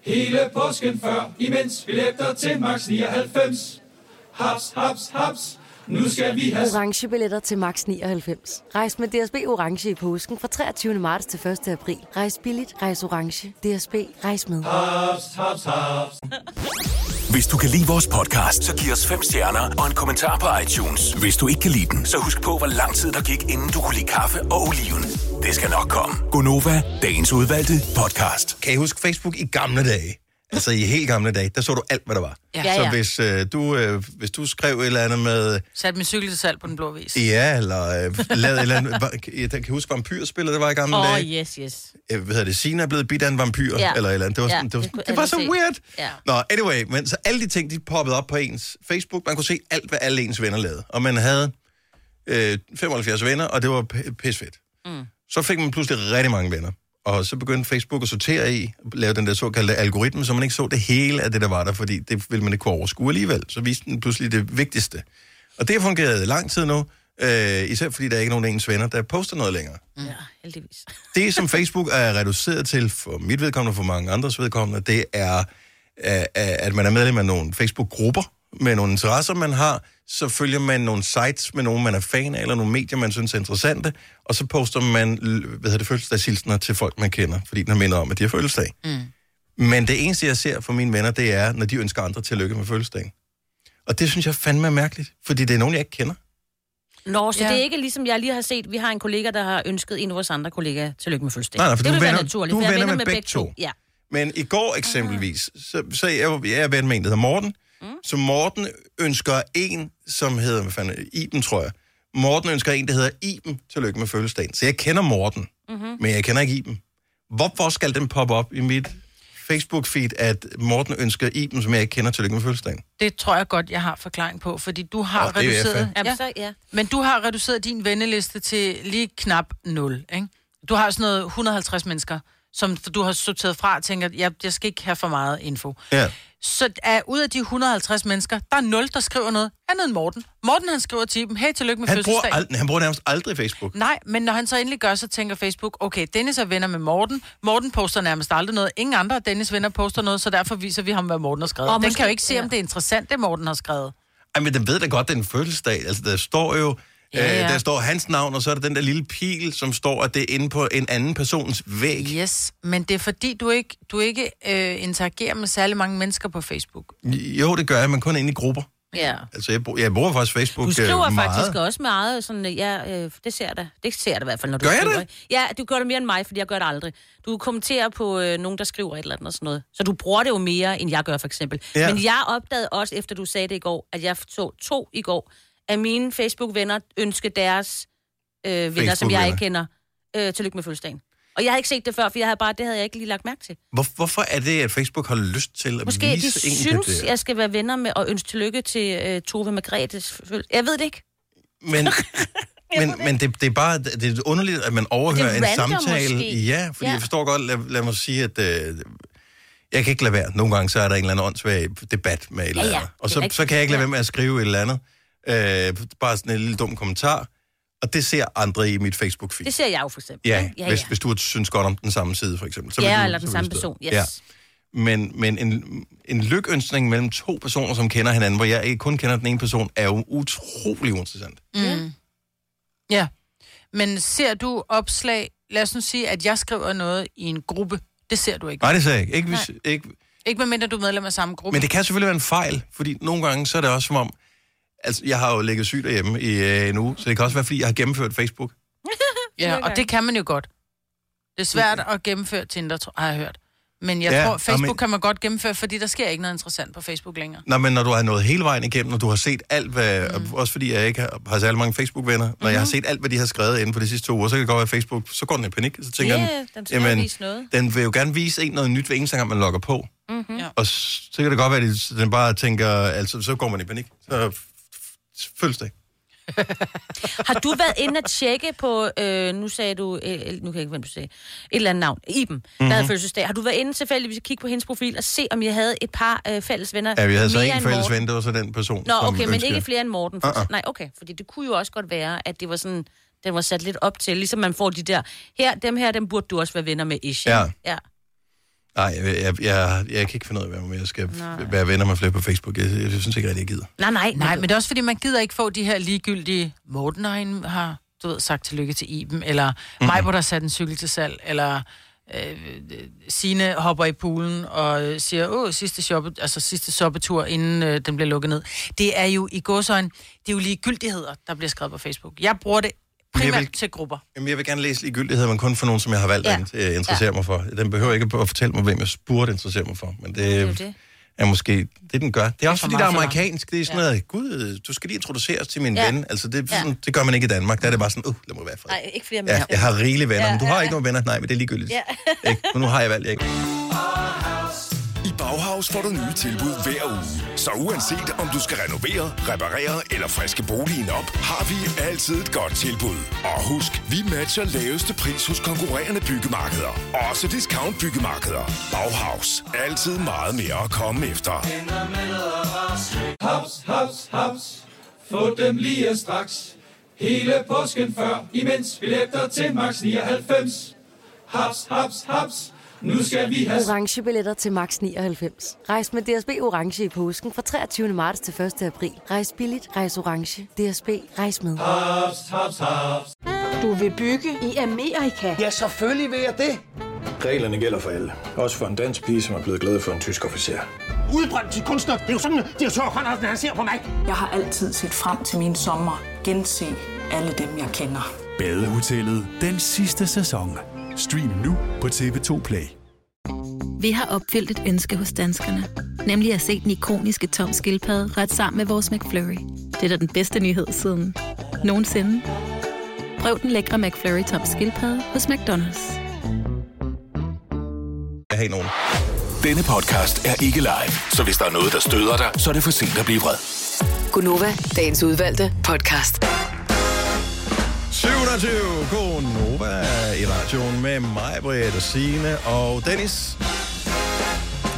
Speaker 11: Hele påsken før, imens billetter til max 99. Haps, haps, haps. Nu skal vi have...
Speaker 12: orange billetter til max 99. Rejs med DSB orange i påsken fra 23. marts til 1. april. Rejs billigt, rejs orange. DSB rejs med.
Speaker 11: Ah,
Speaker 7: Hops, hops, hops.
Speaker 13: Hvis du kan lide vores podcast, så giv os fem stjerner og en kommentar på iTunes. Hvis du ikke kan lide den, så husk på, hvor lang tid der gik, inden du kunne lide kaffe og oliven. Det skal nok komme.
Speaker 1: Gonova, dagens udvalgte podcast. Kan I huske Facebook i gamle dage? Altså i helt gamle dage, der så du alt, hvad der var.
Speaker 2: Ja. Ja,
Speaker 1: Så
Speaker 2: ja.
Speaker 1: hvis, øh, du, øh, hvis du skrev et eller andet med,
Speaker 2: Sat min cykel til salg på den blå vis.
Speaker 1: ja, eller øh, lavede et eller andet, var, jeg kan huske vampyrspillet, det var i gamle
Speaker 2: Åh,
Speaker 1: dage.
Speaker 3: yes, yes.
Speaker 1: Øh, Hvad hedder det, Sina er blevet bidt af en vampyr,
Speaker 3: Ja.
Speaker 1: eller et eller andet. Det var, sådan, det var,
Speaker 3: kunne
Speaker 1: det var
Speaker 3: alle
Speaker 1: så
Speaker 3: se.
Speaker 1: weird.
Speaker 3: Ja.
Speaker 1: Nå, anyway, men så alle de ting, de poppede op på ens Facebook, man kunne se alt, hvad alle ens venner lavede. Og man havde øh, 75 venner, og det var p- pisfedt.
Speaker 14: Mm.
Speaker 1: Så fik man pludselig rigtig mange venner. Og så begyndte Facebook at sortere i, lave den der såkaldte algoritme, så man ikke så det hele af det, der var der, fordi det ville man ikke kunne overskue alligevel. Så viste den pludselig det vigtigste. Og det har fungeret lang tid nu, øh, især fordi der er ikke nogen af ens venner, der poster noget længere.
Speaker 3: Ja, heldigvis.
Speaker 1: Det, som Facebook er reduceret til, for mit vedkommende og for mange andres vedkommende, det er, øh, at man er medlem af nogle Facebook-grupper med nogle interesser, man har. Så følger man nogle sites med nogen, man er fan af, eller nogle medier, man synes er interessante. Og så poster man l- hvad hedder det, fødselsdagshilsener til folk, man kender, fordi den minder om, at de har fødselsdag.
Speaker 2: Mm.
Speaker 1: Men det eneste, jeg ser fra mine venner, det er, når de ønsker andre tillykke med fødselsdagen. Og det synes jeg fandme er mærkeligt, fordi det er nogen, jeg ikke kender.
Speaker 3: Nå, så
Speaker 1: Ja.
Speaker 3: ja. det er ikke ligesom, jeg lige har set, vi har en kollega, der har ønsket en af vores andre kollegaer tillykke med fødselsdag.
Speaker 1: Nej, nej, for
Speaker 3: det
Speaker 1: du
Speaker 3: ville
Speaker 1: er
Speaker 3: være
Speaker 1: venner-
Speaker 3: naturligt,
Speaker 1: du
Speaker 3: for
Speaker 1: er
Speaker 3: jeg
Speaker 1: venner
Speaker 3: venner
Speaker 1: med begge to.
Speaker 3: Ja.
Speaker 1: Men i går eksempelvis, så, så jeg, jeg er ven med en, der hedder Morten. Mm. Så Morten ønsker en, som hedder, hvad fanden, Iben, tror jeg. Morten ønsker en, der hedder Iben, tillykke med fødselsdagen. Så jeg kender Morten,
Speaker 8: Mm.
Speaker 2: Mhm.
Speaker 1: men jeg kender ikke Iben. Hvorfor skal den poppe op i mit Facebook-feed, at Morten ønsker Iben, som jeg ikke kender, tillykke med fødselsdagen?
Speaker 2: Det tror jeg godt, jeg har forklaring på, fordi du har
Speaker 1: Åh, det er
Speaker 2: reduceret...
Speaker 1: FA.
Speaker 3: Jamen, så, ja.
Speaker 2: Men du har reduceret din venneliste til lige knap 0, ikke? Du har sådan noget 150 mennesker, som du har sorteret fra og tænker, jeg, jeg skal ikke have for meget info.
Speaker 1: Ja.
Speaker 2: Så er, ud af de 150 mennesker, der er 0, der skriver noget andet end Morten. Morten han skriver til dem, hey, tillykke med
Speaker 1: Han bruger,
Speaker 2: fødselsdagen.
Speaker 1: ald- han bruger nærmest aldrig Facebook.
Speaker 2: Nej, men når han så endelig gør, så tænker Facebook, okay, Dennis er venner med Morten. Morten poster nærmest aldrig noget. Ingen andre af Dennis venner poster noget, så derfor viser vi ham, hvad Morten har skrevet.
Speaker 3: Og
Speaker 2: Og Den
Speaker 3: måske-
Speaker 2: kan jo ikke se, om det er interessant, det Morten har skrevet.
Speaker 1: Ej, men den ved da godt, det er en fødselsdag. Altså, der står jo...
Speaker 2: Ja,
Speaker 1: Ja, ja.
Speaker 2: ja.
Speaker 1: Øh, der står hans navn, og så er der den der lille pil, som står, at det er inde på en anden persons væg.
Speaker 2: Yes, men det er fordi, du ikke, du ikke øh, interagerer med særlig mange mennesker på Facebook.
Speaker 1: Jo, det gør jeg, men kun inde i grupper.
Speaker 3: Ja.
Speaker 1: Altså, jeg, brug, jeg bruger faktisk Facebook
Speaker 3: Du skriver
Speaker 1: øh, meget.
Speaker 3: faktisk også meget sådan, øh, ja, øh, det ser jeg da. Det ser jeg da i hvert fald, når du
Speaker 1: Gør jeg
Speaker 3: skriver. det? Ja, du gør det mere end mig, fordi jeg gør det aldrig. Du kommenterer på øh, nogen, der skriver et eller andet og sådan noget. Så du bruger det jo mere, end jeg gør for eksempel.
Speaker 15: Ja.
Speaker 3: Ja. Men jeg opdagede også, efter du sagde det i går, at jeg så to i går af mine Facebook-venner ønske deres øh, venner, som jeg ikke kender, øh, tillykke med fødselsdagen. Og jeg havde ikke set det før, for jeg havde bare, det havde jeg ikke lige lagt mærke til.
Speaker 1: Hvor, hvorfor er det, at Facebook har lyst til at
Speaker 3: Måske
Speaker 1: vise
Speaker 3: de
Speaker 1: en
Speaker 3: synes,
Speaker 1: det der?
Speaker 3: jeg skal være venner med og ønske tillykke til øh, Tove Margrethes fødsel. Jeg ved det ikke. *laughs*
Speaker 1: Men, men, men det, det er bare det er underligt, at man overhører
Speaker 3: Det er
Speaker 1: en
Speaker 3: random
Speaker 1: samtale.
Speaker 3: måske.
Speaker 1: Ja, fordi
Speaker 3: Ja.
Speaker 1: jeg forstår godt, lad, lad mig sige, at øh, jeg kan ikke lade være. Nogle gange så er der en eller anden åndssvag debat med et eller
Speaker 16: Ja,
Speaker 1: andet.
Speaker 16: ja,
Speaker 1: Og
Speaker 16: det er
Speaker 1: så,
Speaker 16: rigtigt.
Speaker 1: så kan jeg ikke lade være med at skrive et eller andet. Øh, bare sådan en lille dum kommentar. Og det ser andre i mit Facebook-feed.
Speaker 3: Det ser jeg jo for eksempel.
Speaker 1: Ja,
Speaker 3: ikke? ja,
Speaker 1: Hvis, hvis du synes godt om den samme side, for eksempel. vil
Speaker 3: ja
Speaker 1: du-
Speaker 3: eller den
Speaker 1: vil
Speaker 3: samme
Speaker 1: du stå.
Speaker 3: person, yes.
Speaker 1: Ja.
Speaker 3: Ja.
Speaker 1: Men, men en, en lykønskning mellem to personer, som kender hinanden, hvor jeg ikke kun kender den ene person, er jo utrolig interessant.
Speaker 2: Mm. Ja. Men ser du opslag, lad os nu sige, at jeg skriver noget i en gruppe, det ser du ikke.
Speaker 1: Nej, det sagde jeg ikke. ikke,
Speaker 2: Nej.
Speaker 1: hvis, ikke.
Speaker 2: Ikke medmindre du er medlem af samme gruppe.
Speaker 1: Men det kan selvfølgelig være en fejl, fordi nogle gange så er det også som om, altså jeg har jo ligget syg derhjemme i øh, en uge, så det kan også være, fordi jeg har gennemført Facebook.
Speaker 2: Ja, og det kan man jo godt. Det er svært at gennemføre Tinder, tror- har jeg hørt. Men jeg
Speaker 1: Mm. Ja,
Speaker 2: ja, tror,
Speaker 1: og
Speaker 2: Facebook
Speaker 1: men-
Speaker 2: men... kan man godt gennemføre, fordi der sker ikke noget interessant på Facebook længere.
Speaker 1: Nå, men når du har nået hele vejen igennem, og du har set alt, hvad... Mm. Også fordi jeg ikke har, har særlig mange Facebook-venner. Når mm-hmm. jeg har
Speaker 3: Mhm.
Speaker 1: set alt, hvad de har skrevet inden for de sidste to uger, så kan det godt være Facebook. Så går den i panik, så tænker
Speaker 3: Ja,
Speaker 1: den...
Speaker 3: den skal jo vise noget."
Speaker 1: Den vil jo gerne vise en noget nyt hver eneste gang, man logger på.
Speaker 3: Mm-hmm. Ja.
Speaker 1: Og s- så kan det godt være, at den bare tænker... Altså, så går man i panik. Så f- f- føles det ikke.
Speaker 3: Har du været inde at tjekke på, øh, nu sagde du, øh, nu kan jeg ikke, hvem du sagde, et eller andet navn, Iben, mm-hmm. der havde
Speaker 1: Mhm.
Speaker 3: fødselsdag. Har du været inde tilfældigvis at kigge på hendes profil og se, om jeg havde et par øh, fælles venner?
Speaker 1: Ja, vi havde så
Speaker 3: mere
Speaker 1: en
Speaker 3: end
Speaker 1: fælles
Speaker 3: Morten?
Speaker 1: ven, det var så den person,
Speaker 3: Nå,
Speaker 1: som
Speaker 3: okay, men
Speaker 1: ønskede-
Speaker 3: ikke flere end Morten. For,
Speaker 1: Uh-uh.
Speaker 3: uh-uh. Nej, okay, fordi det kunne jo også godt være, at det var sådan, den var sat lidt op til, ligesom man får de der, her, dem her, dem burde du også være venner med, ish. ikke?
Speaker 1: Ja.
Speaker 3: ja.
Speaker 1: Nej, jeg, jeg, jeg, jeg kan ikke finde ud af, hvad jeg skal
Speaker 2: Nej.
Speaker 1: Nej. være venner med flere på Facebook. Jeg, jeg synes ikke rigtig, jeg gider.
Speaker 2: Nej, nej, nej, men det er også fordi, man gider ikke få de her ligegyldige, Morten har, en- har du ved, sagt tillykke til Iben, eller mm. mig, hvor der sat en cykel til salg, eller øh, Sine hopper i poolen og øh, siger, åh, sidste, shoppe, altså, sidste shoppetur, inden øh, den bliver lukket ned. Det er jo i godsøjen, det er jo ligegyldigheder, der bliver skrevet på Facebook. Jeg bruger det
Speaker 1: Men jeg
Speaker 2: primært
Speaker 1: vil-
Speaker 2: vil... til grupper.
Speaker 1: Jamen, jeg vil gerne læse ligegyldigheder, men kun for nogen, som jeg har valgt
Speaker 2: Ja.
Speaker 1: ja. at øh, interessere ja. mig for. Den behøver ikke at fortælle mig, hvem jeg burde interessere mig for. Men det, det er,
Speaker 3: det.
Speaker 1: er måske det, den gør. Det er også,
Speaker 13: for
Speaker 1: fordi det er
Speaker 13: meget for mig.
Speaker 1: amerikansk. Det er sådan noget, gud, du skal lige introduceres til min
Speaker 3: Ja.
Speaker 1: ja. ven. Altså, det, er
Speaker 3: Ja.
Speaker 1: sådan, ja. det gør man ikke i Danmark. Der er det bare sådan, uh, lad mig være for
Speaker 3: Nej, ikke flere
Speaker 1: ja,
Speaker 3: mere.
Speaker 1: jeg har rigelige venner,
Speaker 3: Ja,
Speaker 1: men du har
Speaker 3: ja,
Speaker 1: ikke nogen venner. Nej, men det er ligegyldigt.
Speaker 3: Ja.
Speaker 1: Ikke? Men nu har jeg valgt, jeg ikke.
Speaker 13: I Bauhaus får du nye tilbud hver uge. Så uanset om du skal renovere, reparere eller friske boligen op, har vi altid et godt tilbud. Og husk, vi matcher laveste pris hos konkurrerende byggemarkeder. Også discount byggemarkeder. Bauhaus. Altid meget mere at komme efter.
Speaker 11: Haps, haps, haps. Få dem lige straks. Hele påsken før, imens billetter til max 99. Haps, haps, haps. Nu skal vi have
Speaker 12: Orange billetter til max 99. Rejs med DSB Orange i påsken fra 23. marts til 1. april. Rejs billigt, rejs orange. DSB, rejs med.
Speaker 7: Haps, haps, haps.
Speaker 14: Ah. Du vil bygge i Amerika? Ja, selvfølgelig vil jeg det.
Speaker 15: Reglerne gælder for alle. Også for en dansk pige, som er blevet glad for en tysk officer.
Speaker 16: Udbrændt til kunstner. Det er jo sådan, at de har tørt, han ser på mig. Jeg har altid set frem til min sommer. Gense alle dem, jeg kender.
Speaker 17: Badehotellet den sidste sæson. Stream nu på TV2 Play.
Speaker 18: Vi har opfyldt et ønske hos danskerne. Nemlig at se den ikoniske tom skildpadde ret sammen med vores McFlurry. Det er da den bedste nyhed siden nogensinde. Prøv den lækre McFlurry tom skildpadde hos McDonald's.
Speaker 1: Jeg har nogen.
Speaker 13: Denne podcast er ikke live, så hvis der er noget, der støder dig, så er det for sent at blive vred.
Speaker 6: Gunova, dagens udvalgte podcast.
Speaker 1: 27 Nova i radioen med mig, Britt, Signe og Dennis.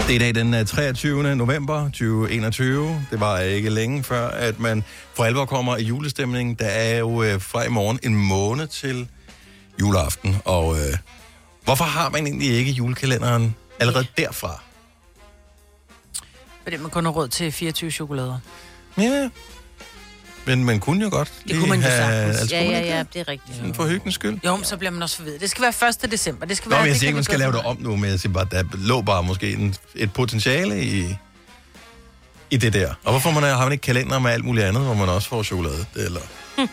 Speaker 1: Det er i dag den øh, 23. november 2021. Det var ikke længe før, at man for alvor kommer i julestemning. Der er jo øh, fra i morgen en måned til juleaften. Og øh, hvorfor har man egentlig ikke julekalenderen allerede derfra?
Speaker 2: Fordi man kun har råd til 24 chokolader.
Speaker 1: Ja. Men man kunne jo godt.
Speaker 2: Det kunne man jo sagtens.
Speaker 1: altså,
Speaker 2: ja,
Speaker 1: kunne man
Speaker 2: ja,
Speaker 1: ikke
Speaker 2: ja,
Speaker 1: det?
Speaker 2: det er rigtigt.
Speaker 1: Sådan For hyggens skyld.
Speaker 2: Jo, men så bliver man også forvirret. Det skal være 1. december. Det skal
Speaker 1: Nå,
Speaker 2: være,
Speaker 1: men jeg
Speaker 2: det kan
Speaker 1: siger ikke,
Speaker 2: vi
Speaker 1: man skal
Speaker 2: gøre
Speaker 1: lave
Speaker 2: for
Speaker 1: det om nu, men jeg siger bare, der lå bare måske en, et potentiale i, i det der. Og hvorfor man, har man ikke kalender med alt muligt andet, hvor man også får chokolade? Eller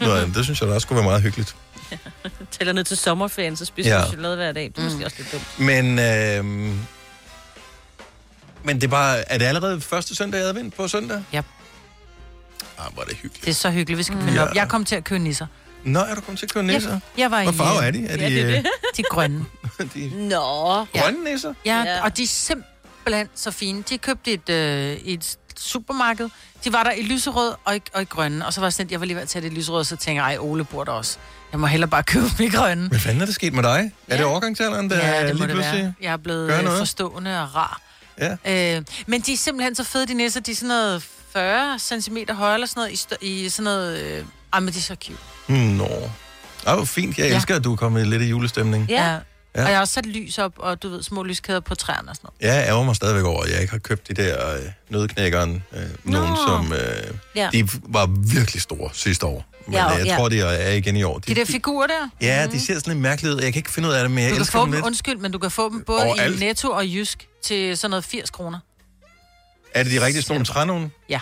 Speaker 1: noget andet? Det synes jeg da også kunne være meget hyggeligt.
Speaker 3: *laughs* Tæller ned til sommerferien, så spiser
Speaker 1: Ja.
Speaker 3: ja. du chokolade hver dag. Det er måske mm. også lidt dumt.
Speaker 1: Men, øh, men det er bare, er det allerede første søndag i advent på søndag?
Speaker 2: Ja.
Speaker 1: Ah, hvor er det hyggeligt.
Speaker 2: Det er så hyggeligt, vi skal pynte
Speaker 1: Ja.
Speaker 2: op. Jeg kom til at købe nisser.
Speaker 1: Nå, er du kommet til at købe nisser?
Speaker 2: Jeg, jeg var
Speaker 1: Hvad
Speaker 2: i,
Speaker 1: farve er de? Er
Speaker 2: ja,
Speaker 1: de,
Speaker 2: det
Speaker 1: øh,
Speaker 2: det. de er grønne.
Speaker 1: *laughs* de
Speaker 3: Nå.
Speaker 1: grønne nisser?
Speaker 2: Ja, ja, og de er simpelthen så fine. De købte et, øh, i et supermarked. De var der i lyserød og i, og i grønne. Og så var jeg sådan, at jeg var lige ved at tage det i lyserød, og så tænkte jeg, ej, Ole bor der også. Jeg må hellere bare købe dem i grønne.
Speaker 1: Hvad fanden er der sket med dig? Er det overgangsalderen, der
Speaker 2: ja, det må
Speaker 1: lige
Speaker 2: det være.
Speaker 1: pludselig
Speaker 2: Jeg er blevet
Speaker 1: gør
Speaker 2: øh,
Speaker 1: noget?
Speaker 2: forstående og rar.
Speaker 1: Ja.
Speaker 2: Øh, men de er simpelthen så fede, de næser. De er sådan noget 40 cm høje eller sådan noget, i, stø- i sådan noget... Øh, ah, men de er så cute.
Speaker 1: Hmm, Nå. Ej, hvor fint. Jeg
Speaker 2: Ja.
Speaker 1: elsker, at du er kommet lidt i julestemning.
Speaker 2: Ja. ja.
Speaker 1: Ja.
Speaker 2: Og jeg har også sat lys op, og du ved, små lyskæder på træerne og sådan noget.
Speaker 1: Jeg ærger mig stadigvæk over, at jeg ikke har købt de der øh, nødknækkeren. Øh, nogen, som... Øh,
Speaker 2: Ja.
Speaker 1: De var virkelig store sidste år. Men
Speaker 2: Ja,
Speaker 1: ja, jeg
Speaker 2: ja.
Speaker 1: ja. tror, de er- er igen i år.
Speaker 2: De, der figurer der.
Speaker 1: Ja, de ser sådan lidt mærkelige ud. Jeg kan ikke finde ud af det, men jeg
Speaker 2: Du kan
Speaker 1: elsker
Speaker 2: få
Speaker 1: dem
Speaker 2: dem,
Speaker 1: lidt.
Speaker 2: undskyld, men du kan få dem både
Speaker 1: Overalt.
Speaker 2: i Netto og Jysk til sådan noget 80 kroner.
Speaker 1: Er det de rigtige sådan nogle trænogen?
Speaker 2: Ja.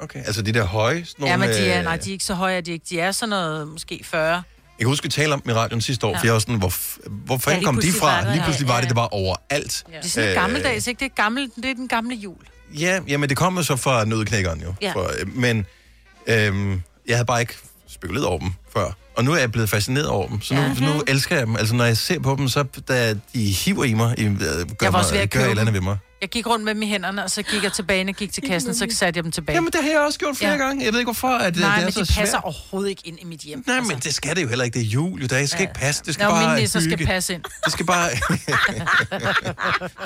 Speaker 1: Okay. Altså de der høje? Sådan
Speaker 2: ja,
Speaker 1: nogle,
Speaker 2: men de er,
Speaker 1: øh,
Speaker 2: nej, de er ikke så høje, er de ikke. De er sådan noget måske 40.
Speaker 1: Jeg kan huske, vi talte om dem i radioen sidste år, ja. for jeg var sådan, hvor, f- hvor fanden
Speaker 2: lige
Speaker 1: ja, kom de
Speaker 2: pludselig var
Speaker 1: fra?
Speaker 2: der, ja.
Speaker 1: lige pludselig var det, det var overalt.
Speaker 2: Det er sådan øh,
Speaker 1: Øh,
Speaker 2: gammeldags, ikke? Det er, gammel, det er den gamle jul.
Speaker 1: Ja, jamen det kom jo så fra nødknækkeren jo.
Speaker 2: Ja.
Speaker 1: Ja. For, øh, men øhm, jeg havde bare ikke spekuleret over dem før. Og nu er jeg blevet fascineret over dem, så nu,
Speaker 2: Ja. Mhm.
Speaker 1: ja. nu elsker jeg dem. Altså når jeg ser på dem, så da de hiver i mig, i, øh, gør,
Speaker 2: var
Speaker 1: mig,
Speaker 2: også ved at
Speaker 1: gør
Speaker 2: købe
Speaker 1: et eller andet ved mig.
Speaker 2: Jeg gik rundt med dem i hænderne, og så gik jeg tilbage, og gik til kassen, så satte jeg dem tilbage.
Speaker 1: Jamen, det har jeg også gjort flere gange. Jeg ved ikke, hvorfor at, øh,
Speaker 2: Nej,
Speaker 1: det er
Speaker 2: men
Speaker 1: så
Speaker 2: de passer
Speaker 1: svært.
Speaker 2: overhovedet ikke ind i mit hjem.
Speaker 1: Nej, altså. men det skal det jo heller ikke. Det er jul, jo. Det skal ja. ikke passe. Det skal
Speaker 2: Nå,
Speaker 1: bare
Speaker 2: mine nisser skal
Speaker 1: hygge.
Speaker 2: passe ind.
Speaker 1: Det
Speaker 2: *laughs*
Speaker 1: skal bare...